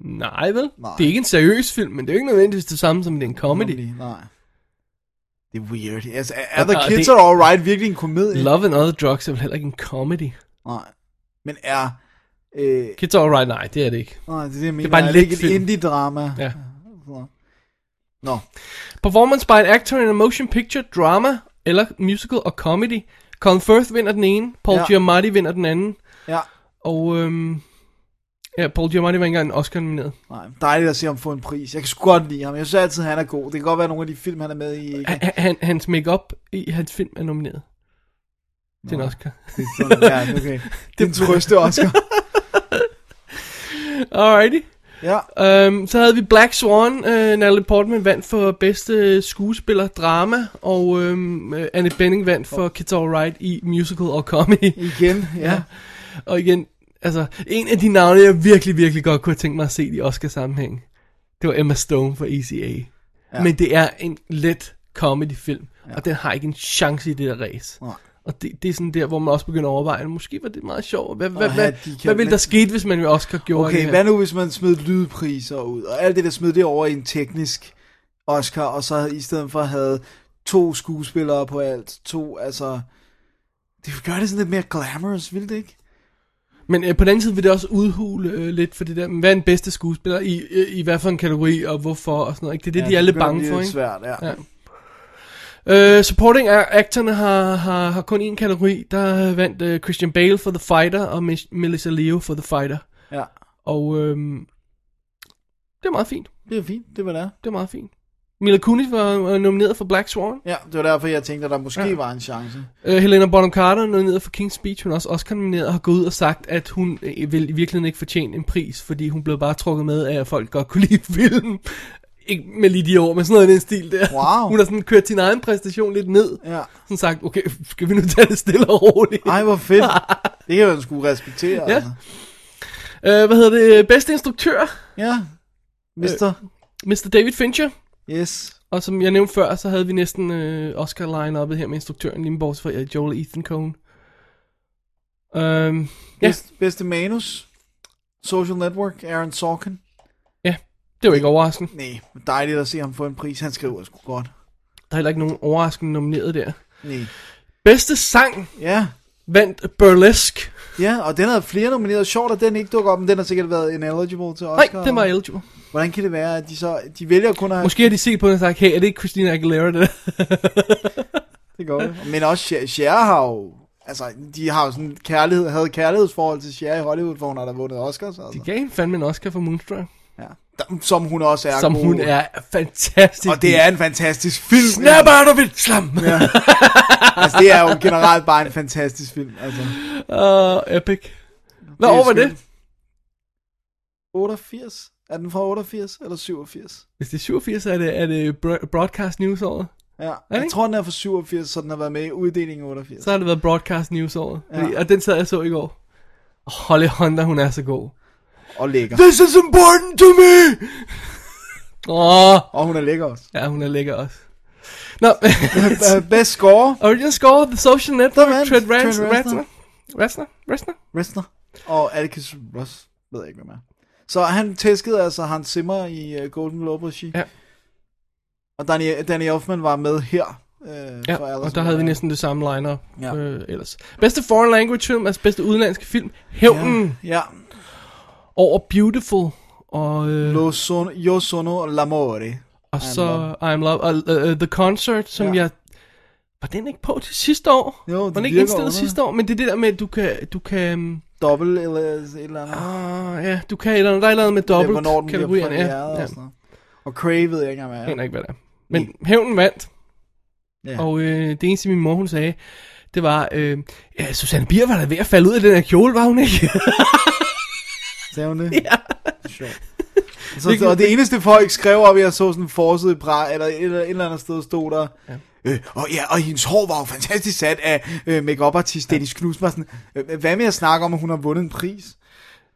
Nej, vel? Nej. Det er ikke en seriøs film, men det er jo ikke nødvendigvis det samme som det er en comedy. Nemlig, Nej. Det er weird. Altså, er, er Og- The og Kids det- Are Alright virkelig en komedie? Love and Other Drugs er vel heller ikke en comedy. Nej. Men er... Øh, Kids Are Alright, nej, det er det ikke. nej, det er det, jeg mener. bare en er det ikke let et film. indie-drama? Ja. Så. Nå, Performance by an actor in a motion picture, drama eller musical og comedy. Colin Firth vinder den ene, Paul Ja. ja. Giamatti vinder den anden, ja. og øhm, ja, Paul Giamatti var ikke engang en Oscar-nomineret. Nej, dejligt at se ham få en pris. Jeg kan sgu godt lide ham. Jeg synes altid, han er god. Det kan godt være, at nogle af de film, han er med i, ikke Han- Han, hans makeup i hans film er nomineret. Til en Oscar. Det er sådan, ja, okay. Det er en trøste, Oscar. Alrighty. Ja, Um, så havde vi Black Swan. Uh, Natalie Portman vandt for bedste skuespiller drama, og um, Anne Benning vandt for Kids All Right i musical og comedy. igen, ja. Og igen, altså, en af de navne, jeg virkelig, virkelig godt kunne have tænkt mig at se i E Oscar-sammenhæng, det var Emma Stone fra ECA. Ja. Men det er en let comedy-film, ja. og den har ikke en chance i det der race. Nej. Og det, det er sådan der, hvor man også begynder at overveje, måske var det meget sjovt. Hvad, hvad, have hvad, de kan- hvad ville der men- ske, hvis man jo også gjorde det Okay, her? hvad nu hvis man smed lydpriser ud, og alt det der smed det over i en teknisk Oscar, og så i stedet for havde to skuespillere på alt, to, altså... Det ville gøre det sådan lidt mere glamorous, ville det ikke? Men øh, på den anden side vil det også udhule øh, lidt for det der, men hvad er den bedste skuespiller i, øh, i hvad for en kategori, og hvorfor, og sådan noget. Ikke? Det er det, ja, de er lidt begynder at bange blive for, lidt ikke? svært, ja. Ja. Øh, supporting actorne har, har, har kun én kategori, der vandt øh, Christian Bale for The Fighter, og Mich- Melissa Leo for The Fighter. ja. Og øhm, det er meget fint, Det er fint, det var det. er. det er meget fint. Mila Kunis var var nomineret for Black Swan. Ja, det var derfor, jeg tænkte, at der måske ja. var en chance. Øh, Helena Bonham Carter nomineret for King's Speech, hun er også Oscar nomineret og har gået ud og sagt, at hun øh, vil i virkeligheden ikke fortjene en pris, fordi hun blev bare trukket med af, at folk godt kunne lide filmen. Ikke med lige de år, men sådan noget i den stil der. Wow. Hun har sådan kørt sin egen præstation lidt ned. Ja. Sådan sagt, okay, skal vi nu tage det stille og roligt? Ej, hvor fedt. Det kan man sgu respektere. Ja. altså. Øh, hvad hedder det? Bedste instruktør, ja. Mister. Øh. Mr. David Fincher. Yes. Og som jeg nævnte før, så havde vi næsten øh, oscar line oppe her med instruktøren, lige bortset fra øh, Joel Ethan Coen. Øhm, ja, Bedst, Bedste manus. Social Network, Aaron Sorkin. ja, det var ikke overraskende. Nej, dejligt at se ham få en pris. Han skriver sgu godt. Der er heller ikke nogen overraskende nomineret der. Nej. Bedste sang Ja. vandt Burlesque. Ja, og den havde flere nomineret. Sjovt, at den ikke dukker op, men den har sikkert været ineligible til Oscar. Nej, den var eligible. Hvordan kan det være, at de så... De vælger kun at... Måske. Måske har de set på den og sagt, hey, er det ikke Christina Aguilera det der? Det går det. Men også Cher- Cher har jo... Altså, de har jo sådan en kærlighed, havde kærlighedsforhold til Cher i Hollywood, hvor hun har da vundet Oscars. Altså. De gav hende fandme en Oscar for Moonstruck. Ja. Der- Som hun også er Som god. hun er fantastisk. Og det er en fantastisk film. Snap out of it, slam! Ja. altså, det er jo generelt bare en fantastisk film. Altså. Uh, epic. Nå, Det er over var det? skønt. 88? Er den fra 88 eller 87? Hvis det er 87, er det, er det bro- broadcast news året. Ja, det jeg ikke? tror, den er fra 87, så den har været med i uddelingen i 88. Så har det været broadcast news året. Ja. Ja. Og den sad jeg så i går. Og Holly Hunter, hun er så god. Og lækker. This is important to me! Åh, oh, Og hun er lækker også. ja, hun er lækker også. Nå, Øh, Best score? original score, The Social Network, Der vandt Trent Rans- Trent Reznor. Reznor. Reznor? Reznor? Restner. Og Atticus Ross. Ved jeg ikke, hvem er. Så han tæskede altså Hans Zimmer i uh, Golden Globe regi. Ja. Og Danny, Danny Elfman var med her. Øh, Ja, for Alice og der havde vi Miller. næsten det samme line-up Ja. ja. øh, ellers. Bedste foreign language film, altså bedste udenlandske film, Hævnen ja. Ja, over Beautiful, og, øh, Lo sono, Yo sono l'amore. og så I'm Love, og øh, øh, The Concert, som Ja. ja. jeg... Var den ikke på til sidste år? Jo, var det den ikke virker indstillet underligt. sidste år? Men det er det der med, at du kan... Du kan Dobbelt eller et eller andet. ah, ja, du kan et eller andet, der er et eller andet med dobbelt hvornår den bliver kategorierne. premieret Ja, ja. ja. og sådan noget. Og Cray ved jeg ikke engang, Jeg hvad aner er. ikke, hvad det er. Men Hævnen vandt. Ja. Og øh, det eneste, min mor hun sagde, det var, øh, ja, Susanne Bier var da ved at falde ud af den her kjole, var hun ikke? Sagde hun det? Ja. Sjovt. Og Så, og det eneste folk skrev op, jeg så sådan en forside bra, eller et, eller et eller andet sted stod der, ja. Øh, og, ja, og hendes hår var jo fantastisk sat af øh, make artist Dennis Knudsen. Øh, hvad med at snakke om, at hun har vundet en pris?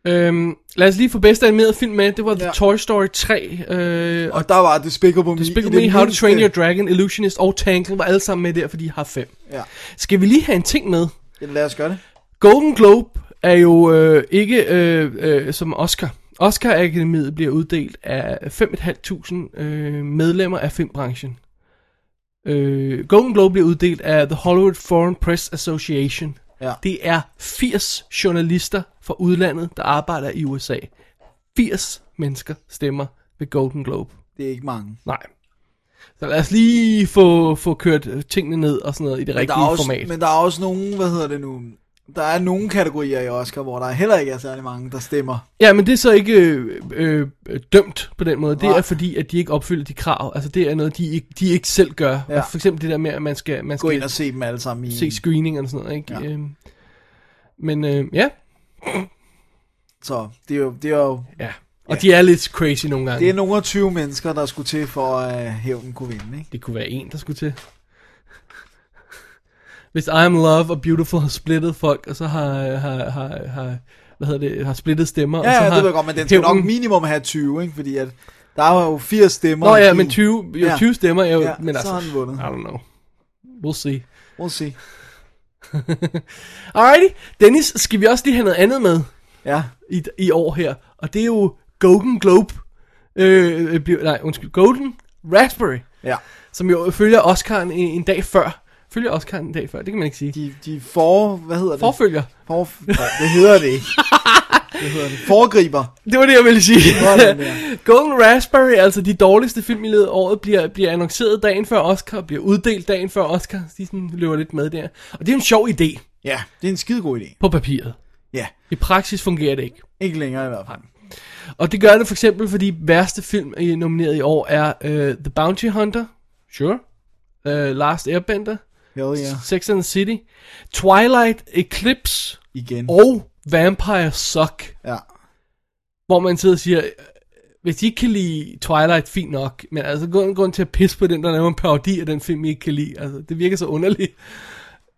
øhm, lad os lige få bedste animeret film med. Det var The Ja. Toy Story 3. Øh, og Og der var Despicable Me. i Despicable det Me, How to mindste. Train Your Dragon, Illusionist og Tangle var alle sammen med der, fordi de har fem. Ja. Skal vi lige have en ting med? Ja, Lad os gøre det. Golden Globe er jo øh, ikke øh, øh, som Oscar. Oscar-akademiet bliver uddelt af 5.500 øh, medlemmer af filmbranchen. Øh, Golden Globe bliver uddelt af The Hollywood Foreign Press Association. Ja. Det er 80 journalister fra udlandet, der arbejder i USA. 80 mennesker stemmer ved Golden Globe. Det er ikke mange. Nej. Så lad os lige få, få kørt øh, tingene ned og sådan noget i det rigtige der er også, format. Men der er også nogen, hvad hedder det nu, der er nogle kategorier i Oscar, hvor der heller ikke er særlig mange, der stemmer. Ja, men det er så ikke øh, øh, øh, dømt på den måde. Det Nej. er fordi, at de ikke opfylder de krav. Altså, det er noget, de ikke, de ikke selv gør. Ja. Ja. For eksempel det der med, at man skal, man Gå ind skal og se dem alle sammen i. se screening og sådan noget, ikke? Ja. Ja. Øhm, men øh, ja, Så det er jo, det er jo ja. Og ja. de er lidt crazy nogle gange. det er Det, nogle af 20 mennesker, der skulle til for, at hævnen kunne vinde, ikke? det kunne være en, der skulle til. Hvis I Am Love og Beautiful har splittet folk, og så har, har, har, har hvad hedder det, har splittet stemmer. og Ja, så ja, har det ved jeg godt, men den skal hævnen- nok minimum have 20, ikke? Fordi at der er jo 80 stemmer. Nå ja, i- men 20, jo, Ja. 20 stemmer er jo... Ja, men så altså, har den vundet. I don't know. We'll see. We'll see. Alrighty, Dennis, skal vi også lige have noget andet med Ja. i, i år her? Og det er jo Golden Globe. Øh, øh, bliver- nej, undskyld, Golden Raspberry, Ja. som jo følger Oscar'en en, en dag før. Følger Oscar'en en dag før, det kan man ikke sige. De, de for... Hvad hedder det? Forfølger. for nej, det hedder det ikke. Det hedder det. Foregriber. Det var det, jeg ville sige. Sådan der. Golden Raspberry, altså de dårligste film i løbet af året, bliver, bliver annonceret dagen før Oscar, bliver uddelt dagen før Oscar. De sådan løber lidt med der. Og det er jo en sjov idé Ja, det er en skide god idé. på papiret. Ja, I praksis fungerer det ikke. ikke længere i hvert fald. Og det gør det for eksempel, fordi værste film øh, nomineret i år er uh, The Bounty Hunter, sure, uh, Last Airbender, Hell Oh, yeah. Sex and the City, Twilight, Eclipse Igen. og Vampire Suck. Ja. hvor man sidder og siger, øh, hvis I ikke kan lide Twilight, fint nok, men altså gå en grund til at pisse på den, der laver en parodi af den film, I ikke kan lide. Altså, det virker så underligt.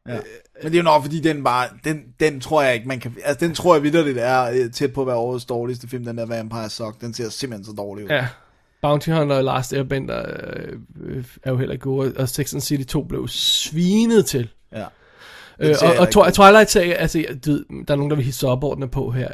Men det er jo nok, fordi den bare, den, den tror jeg ikke, man kan, altså den tror jeg vidderligt er øh, tæt på at være årets dårligste film, den der Vampire Suck, den ser simpelthen så dårlig ud. Ja. Bounty Hunter og Last Airbender øh, øh, er jo heller ikke gode, og Sex and the City 2 blev svinet til. ja. Øh, ser og jeg og ikke. Twi- Twilight sagde, altså, jeg, du ved, der er nogen, der vil hisse sig op over den er på her.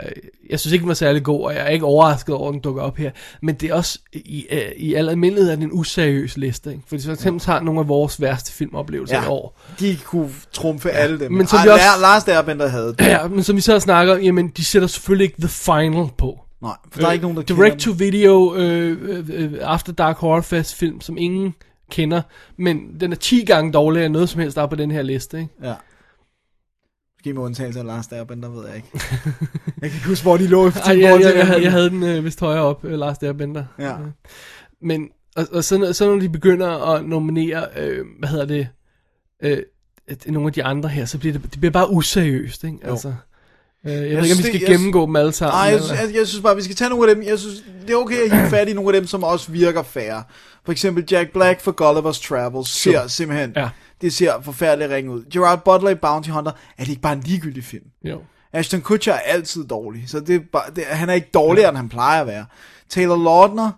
Jeg synes ikke, den var særlig god, og jeg er ikke overrasket over, at den dukker op her. Men det er også, i, øh, i al almindelighed er det en useriøs liste, ikke? Fordi for eksempel tager nogle af vores værste filmoplevelser ja. i år. De kunne trumfe ja. alle dem. men Men så så er vi også- også... Lars Derbender havde det. Ja, men som vi så snakker om, jamen, de sætter selvfølgelig ikke The Final på. Øh, Nej, for der er ikke nogen, der Direct kender to video øh, øh, øh, After Dark Horror Fest film, som ingen kender, men den er 10 gange dårligere end noget som helst, der er på den her liste, ikke? dem. Ja. Måske med undtagelse af Lars Derbender, ved jeg ikke. jeg kan ikke huske, hvor de lå. i Ej, forhold jeg, til jeg, jeg, hinanden. havde, jeg havde den øh, vist højere op, øh, Lars Derbender. Ja. Øh, Men, og, og så, så når de begynder at nominere, øh, hvad hedder det, øh, at nogle af de andre her, så bliver det, det bliver bare useriøst, ikke? Altså, øh, jeg, ved ikke, om vi synes, skal det- jeg- gennemgå dem alle sammen. Nej, jeg, eller- synes- jeg, jeg synes bare, vi skal tage nogle af dem. Jeg synes, det er okay at hive fat i nogle af dem, som også virker færre. For eksempel Jack Black for Gulliver's Travels ser Sure. simpelthen, Ja. det ser forfærdeligt ringe ud. Gerard Butler i Bounty Hunter, er det ikke bare en ligegyldig film? Jo. Ashton Kutcher er altid dårlig, så det er bare, det, han er ikke dårligere, end han plejer at være. Taylor Lautner,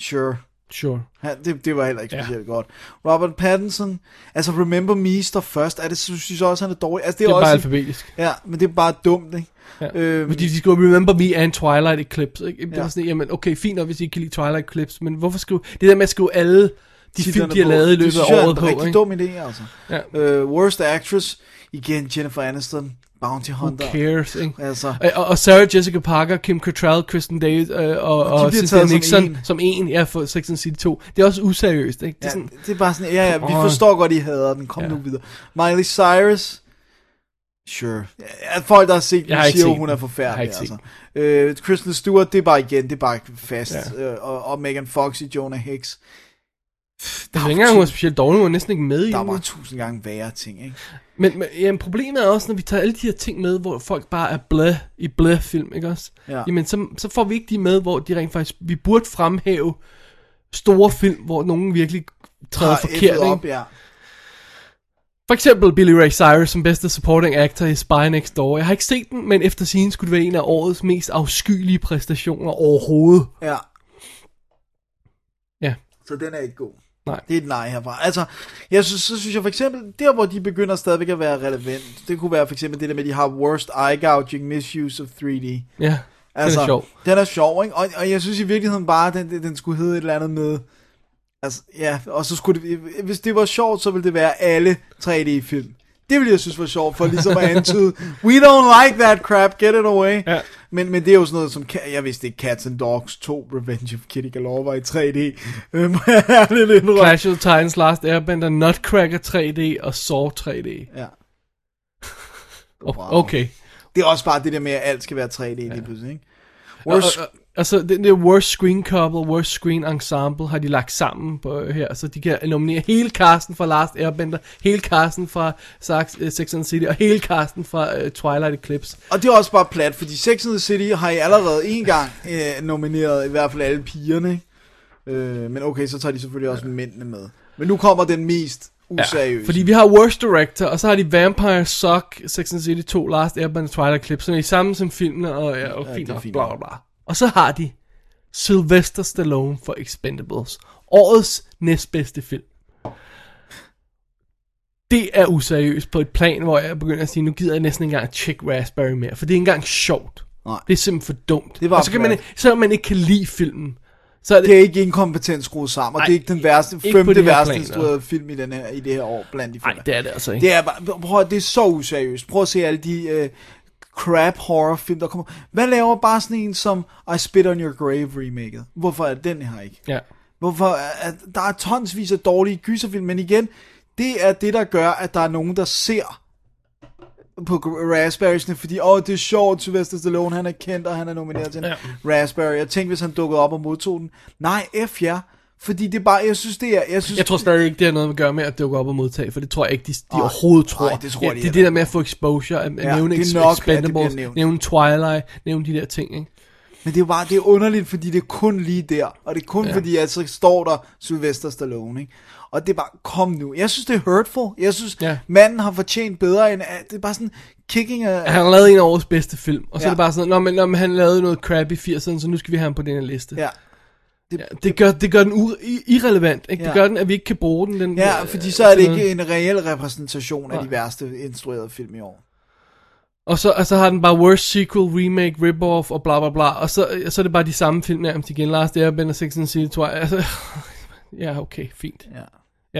sure. Sure. Han, det, det var heller ikke Ja. specielt godt. Robert Pattinson, altså Remember Me står først, er det, synes jeg så også, han er dårlig. Altså, det Det er, er bare også, alfabetisk. ja, men det er bare dumt, ikke? Ja. Øhm, Fordi de skulle Remember Me and Twilight Eclipse. Ikke? Det ja. var Ja. sådan, jamen okay, fint nok, hvis I ikke kan lide Twilight Eclipse, men hvorfor skrive... Det der med at skrive alle de film, titlerne de har på. lavet i Det løbet synes jeg af er året en på. Ikke? rigtig dum idé, altså. Ja. Øh, worst Actress, igen Jennifer Aniston, Bounty Who Hunter. cares, ikke? Altså, Øh, Og- Og, og Sarah Jessica Parker, Kim Cattrall, Kristen Davis øh, og, bliver og Cynthia taget som Nixon som en. en. som en, ja, for Sex and the City 2. Det er også useriøst, ikke? Det er ja, sådan, det er bare sådan, ja, ja, vi Come on. forstår godt, I hader den, kom Ja. nu videre. Miley Cyrus, sure. Ja, folk, der har set Jeg den, har ikke siger set jo, den. hun er Jeg har forfærdelig, ikke set altså. Øh, Kristen Stewart, det er bare igen, det er bare fast. Ja. Øh, og, og Megan Fox i Jonah Hex. det er ikke engang, hun var specielt dårlig, hun var næsten ikke med i Der den. var tusind gange værre ting, ikke? Men, men jamen, problemet er også, når vi tager alle de her ting med, hvor folk bare er blæ i blæ-film, ikke også? Ja. Jamen, så, så får vi ikke de med, hvor de rent faktisk... Vi burde fremhæve store film, hvor nogen virkelig træder Har forkert, effet op, ikke? ja. For eksempel Billy Ray Cyrus som bedste supporting actor i Spy Next Door. Jeg har ikke set den, men efter scene skulle det være en af årets mest afskyelige præstationer overhovedet. Ja. Ja. Så den er ikke god. Nej. Det er et nej herfra. Altså, jeg synes, så synes jeg for eksempel, der hvor de begynder stadigvæk at være relevant, det kunne være for eksempel det der med, at de har worst eye gouging misuse of 3D. Ja, Altså, den er sjov. Den er sjov, ikke? Og, og jeg synes i virkeligheden bare, at den, den, den skulle hedde et eller andet med, altså, ja, og så skulle det, hvis det var sjovt, så ville det være alle 3D-film. Det ville jeg synes var sjovt, for ligesom at antyde, we don't like that crap, get it away. Ja. Men, men det er jo sådan noget som, Ka- jeg vidste ikke, Cats and Dogs 2, Revenge of Kitty Galore var i 3D. Mm. Øhm, ærligt indrømme. Clash of the Titans Last Airbender, Nutcracker 3D og Saw 3D. Ja. O- Okay. Det er også bare det der med, at alt skal være 3D lige pludselig, ikke? Worst, Og- og- Altså, det, det er worst screen couple, worst screen ensemble har de lagt sammen på øh, her, så de kan nominere hele casten fra Last Airbender, hele casten fra Sax, uh, Sex and the City, og hele casten fra uh, Twilight Eclipse. Og det er også bare plat, fordi Sex and the City har I allerede en gang øh, nomineret, i hvert fald alle pigerne. ikke? Øh, men okay, så tager de selvfølgelig også mændene med. Men nu kommer den mest useriøse. Ja, Fordi vi har Worst Director, og så har de Vampire, Suck, Sex and the City 2, Last Airbender, Twilight Eclipse, så er de sammen som filmene, og ja, og Ja, fint det er nok, fint bla, bla, nok. bla. Og så har de Sylvester Stallone for Expendables, årets næstbedste film. det er useriøst på et plan, hvor jeg begynder at sige, nu gider jeg næsten ikke engang at tjekke Raspberry mere, for det er ikke engang sjovt. Nej. Det er simpelthen for dumt. Det var og så kan man, flat. selvom man ikke kan lide filmen, så er det, Det er ikke inkompetent skruet sammen, og Nej, det er ikke den værste, ikke på femte det her værste plan, instruerede film i, den her, i det her år blandt de Nej, film. det er det altså ikke. Det er, bare- prøv, at- det er så useriøst. Prøv at se alle de øh, crap horror film, der kommer. Hvad laver bare sådan en som I Spit On Your Grave remaket? Hvorfor er den her ikke? Ja. Hvorfor er- at der er tonsvis af dårlige gyserfilm, men igen, det er det, der gør, at der er nogen, der ser på gr- Raspberriesne, fordi åh, det er sjovt, Sylvester Stallone, han er kendt, og han er nomineret til en Ja. Raspberry. Jeg tænkte, hvis han dukkede op og modtog den. Nej, F ja. Fordi det er bare, jeg synes, det er, jeg synes, Jeg tror stadig ikke, det har noget at gøre med at dukke op og modtage, for det tror jeg ikke, de, de Ej, overhovedet tror. ej, det tror de det, det er heller det der med at få exposure, at Ja, ja, nævne det er ex- nok, at det bliver Expendables, nævnt. nævne Twilight, nævne de der ting, ikke? Men det er jo bare, det er underligt, fordi det er kun lige der. Og det er kun ja. fordi, at så står der Sylvester Stallone, ikke? Og det er bare, kom nu. Jeg synes, det er hurtful. Jeg synes, ja. Ja. manden har fortjent bedre end... at- Det er bare sådan kicking af... Han har lavet en af årets bedste film, og så Ja. er det bare sådan, Nå, men, nå, men han lavede noget crap i 80'erne, så nu skal vi have ham på den her liste. Ja. Ja, det, gør, det gør den u- i- irrelevant, ikke? Ja. Det gør den, at vi ikke kan bruge den. den ja, øh, fordi så er det til noget. ikke en reel repræsentation af de Nej. værste instruerede film i år. Og så, og så har den bare worst sequel, remake, rip-off og bla bla bla. Og så, øh, så er det bare de samme film nærmest igen. Last Airbender, Sex and the City, Twilight. Altså, ja, okay, fint. Ja.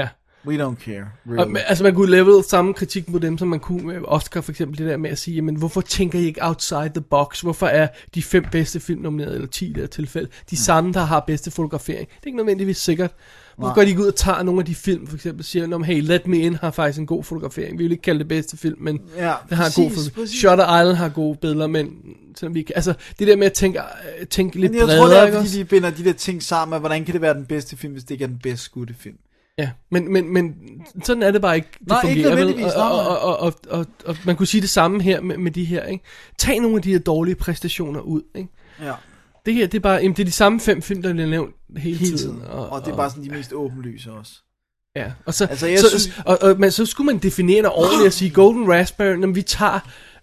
Ja. We don't care, Og, really. men, altså man kunne level samme kritik mod dem, som man kunne med Oscar for eksempel det der med at sige, jamen hvorfor tænker I ikke outside the box? Hvorfor er de fem bedste film nomineret, eller ti i det her tilfælde, Mm. de samme, der har bedste fotografering? Det er ikke nødvendigvis sikkert. Hvorfor går de ikke ud og tager nogle af de film, for eksempel siger, "Nå, men hey, Let Me In har faktisk en god fotografering. Vi vil ikke kalde det bedste film, men Ja, det har en god præcis, fotografering. præcis. Shutter Island har gode billeder, men selvom vi kan, altså det der med at tænke, øh, tænke lidt Men jeg bredere. tror, det ikke er, også? fordi de binder de der ting sammen, at hvordan kan det være den bedste film, hvis det ikke er den bedst skudte film? Ja, men, men, men sådan er det bare ikke. Det Nej, ikke fungerer, vel? nødvendigvis, nej, Og, nej. og, og, og, og, og man kunne sige det samme her med, med de her. Ikke? Tag nogle af de her dårlige præstationer ud. Ikke? Ja, Det her, det er bare jamen, det er de samme fem film, der bliver nævnt hele, hele tiden. Og, Og det er bare sådan de mest åbenlyse også. Ja, og så, Altså, altså, jeg jeg så, synes- synes... og, og, men så skulle man definere det ordentligt og sige, Golden Raspberry, når vi tager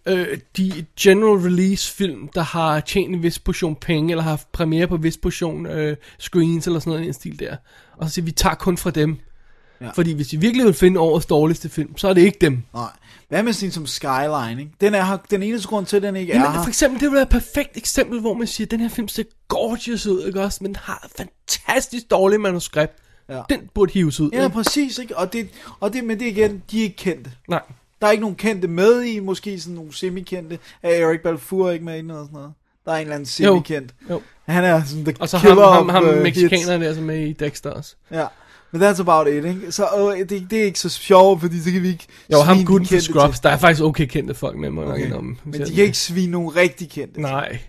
øh, de general release film, der har tjent en vis portion penge, eller har haft premiere på en vis portion øh, screens, eller sådan noget i den stil der. Og så siger vi, vi tager kun fra dem. Ja. Ja. Fordi hvis vi virkelig vil finde årets dårligste film, så er det ikke dem. Nej. Hvad med sådan en som Skyline, ikke? Den, er, her- den eneste grund til, at den ikke er Jamen, her. for eksempel, det ville være et perfekt eksempel, hvor man siger, den her film ser gorgeous ud, ikke også? Men den har et fantastisk dårligt manuskript. Ja. Ja. Den burde hives ud. Ja, ikke? præcis, ikke? Og det, og det, men det er igen, de er ikke kendte. Nej. Der er ikke nogen kendte med i, måske sådan nogle semikendte. Er Erik Balfour ikke med i noget sådan noget? Der er en eller anden Jo. semikendt. Jo. Han er sådan the Og så ham, killer ham, of, ham, øh, ham hits. mexikaneren der, som er altså i Dexter også. Ja. Men that's about it, ikke? Så øh, det, det er ikke så sjovt, fordi så kan vi ikke Jo, ham svine de gutten fra kendte Scrubs, til. der er faktisk okay kendte folk med, må jeg nok Okay. indrømme. Men de kan ikke svine nogen rigtig kendte. til. Nej.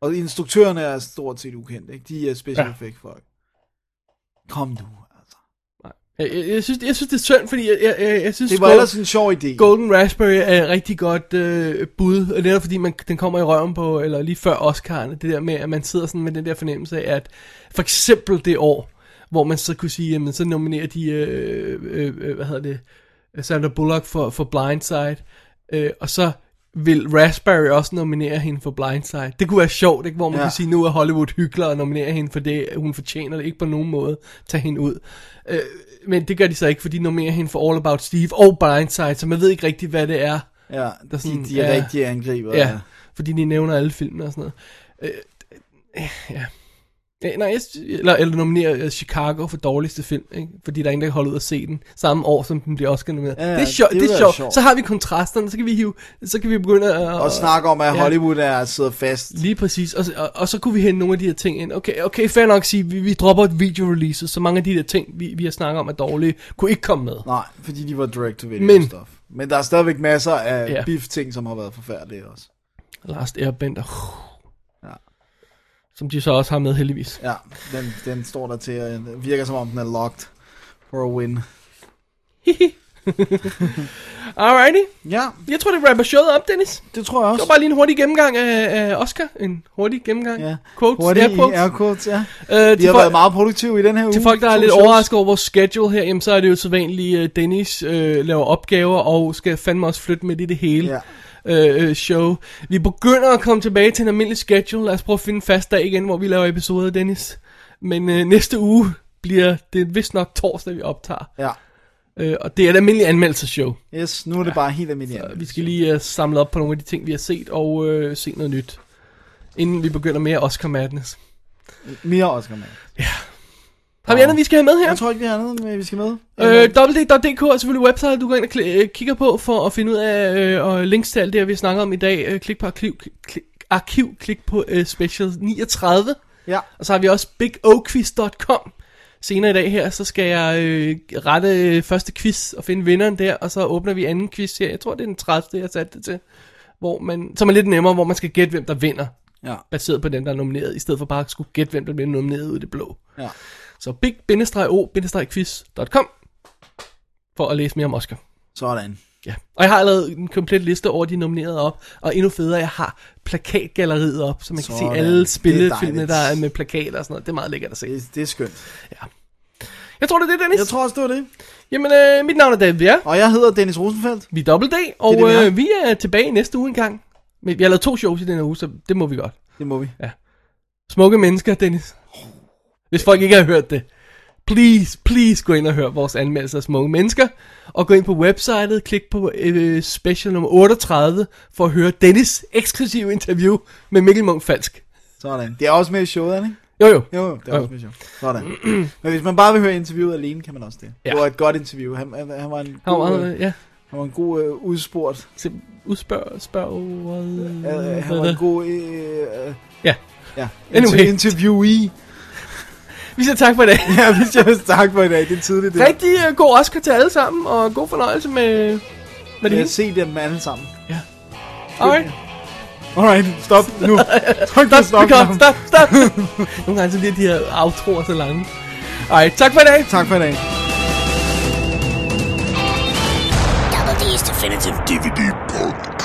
Og instruktørerne er stort set ukendte, ikke? De er special Ja. effect folk. Kom nu, altså. Jeg, jeg, jeg, synes, jeg synes, det er synd, fordi jeg, jeg, jeg, jeg synes, Det var Gold- ellers en sjov idé. Golden Raspberry er et rigtig godt øh, bud, og det er fordi, man, den kommer i røven på, eller lige før Oscar'erne, det der med, at man sidder sådan med den der fornemmelse af, at for eksempel det år, hvor man så kunne sige, jamen så nominerer de, øh, øh, øh, hvad hedder det, Sandra Bullock for, for Blindside, øh, og så vil Raspberry også nominere hende for Blindside. Det kunne være sjovt, ikke? hvor man Ja. ja. kunne sige, nu er Hollywood hykler og nominerer hende for det, hun fortjener det ikke på nogen måde, tag hende ud. Øh, men det gør de så ikke, for de nominerer hende for All About Steve og Blindside, så man ved ikke rigtigt, hvad det er. Ja, der er sådan- de, de er ja. rigtige angriber. Ja, øh, fordi de nævner alle filmene og sådan noget. Øh, ja. Ja, nej, jeg, sy- eller, eller nominerer øh, Chicago for dårligste film, ikke? fordi der er ingen, der kan holde ud og se den, samme år, som den bliver også nomineret. Ja, det er, det sjovt, det ville være er sjovt. sjovt. Så har vi kontrasterne, så kan vi, hive, så kan vi begynde at... Og snakke om, at Ja. Hollywood er sidder fast. Lige præcis, og, og, og så kunne vi hente nogle af de her ting ind. Okay, okay fair nok at sige, vi, vi dropper et video releases, så mange af de der ting, vi, vi har snakket om er dårlige, kunne ikke komme med. Nej, fordi de var direct to video Men. Men- stuff. Men der er stadigvæk masser af Ja. yeah. beef ting, som har været forfærdelige også. Last Airbender, Ja. ja. som de så også har med heldigvis. Ja, den, den står der til at den virker som om den er locked for a win. Alrighty, Ja, jeg tror, det rapper showet op, Dennis. det tror jeg Det også. var bare lige en hurtig gennemgang af, af Oscar. En hurtig gennemgang. Ja. Quotes, Hurtigt Hurtig, i air quotes. air quotes, ja. Øh, Vi til, har været folk, meget produktive i den her uge. til folk, der er To lidt shows. overrasket over vores schedule her, jamen, så er det jo så vanligt, at Dennis øh, laver opgaver og skal fandme også flytte med i det hele Ja. øh, øh, show. Vi begynder at komme tilbage til en almindelig schedule. Lad os prøve at finde en fast dag igen, hvor vi laver episoder, Dennis. Men øh, næste uge bliver det vist nok torsdag, vi optager. Ja. Øh, og det er et almindeligt anmeldelseshow. Yes, nu er det bare helt almindeligt. Vi skal lige uh, samle op på nogle af de ting, vi har set, og uh, se noget nyt. Inden vi begynder mere Oscar Madness. Mere Oscar med. Har vi andet, vi skal have med her? Ah. Jeg tror ikke, vi har andet, men vi skal med. Øh, www.dk er selvfølgelig website, du går ind og kli- øh, kigger på for at finde ud af øh, og links til alt det, vi snakker om i dag. Øh, klik på arkiv, klik, arkiv, klik på øh, special 39. Ja. Og så har vi også bigoquiz.com. Senere i dag her, så skal jeg øh, rette øh, første quiz og finde vinderen der, og så åbner vi anden quiz her. Jeg tror, det er den 30. jeg satte det til. Hvor man, som er lidt nemmere, hvor man skal gætte, hvem der vinder, Ja. baseret på dem, der er nomineret, i stedet for bare at skulle gætte, hvem der bliver nomineret ud af det blå. ja. Så big-o-quiz.com for at læse mere om Oscar. Sådan. Ja. Og jeg har lavet en komplet liste over de nominerede op, og endnu federe, jeg har plakatgalleriet op, så man kan Sådan. se alle spillefilmene, Det der er er dejligt. med plakater og sådan noget. Det er meget lækkert at se. Det, det er skønt. Jeg tror, det er det, Dennis. Jeg tror også, det var det. Jamen, øh, mit navn er David Bjerre. Og jeg hedder Dennis Rosenfeldt. Vi er Double D, og det, vi er. øh, vi er tilbage næste uge engang. Men vi har lavet to shows i denne uge, så det må vi godt. Det må vi. Smukke mennesker, Dennis. Hvis folk ikke har hørt det, please, please gå ind og hør vores anmeldelse af Smukke Mennesker. Og gå ind på websitet, klik på øh, special nummer 38 for at høre Dennis' eksklusive interview med Mikkel Munk Falsk. Sådan. Det er også med i showet, er det ikke? Jo jo. Jo, jo, det er Jo. også med i showet. Sådan. Men hvis man bare vil høre interviewet alene, kan man også det. Ja. Ja. Det var et godt interview. Han, han, han var en Han var god, meget, øh, øh, ja, han var en god øh, udspurt. se, udspørg, spørg, øh, Øh, øh, han hvad var en det? god... Øh, øh, Ja. Ja, Anyway. anyway. interviewee. Vi siger tak for i dag. Ja, vi skal tak for i dag. Det er tidligt. Det. Rigtig øh, god Oscar til alle sammen, og god fornøjelse med, med det Jeg hele. har set dem alle sammen. Alright, Alright, stop nu. Tryk på stop. stop, stop, stop, stop. Nogle gange så bliver de her outroer så lange. Alright, tak for i dag. Tak for i dag. Double D's Definitive DVD Podcast.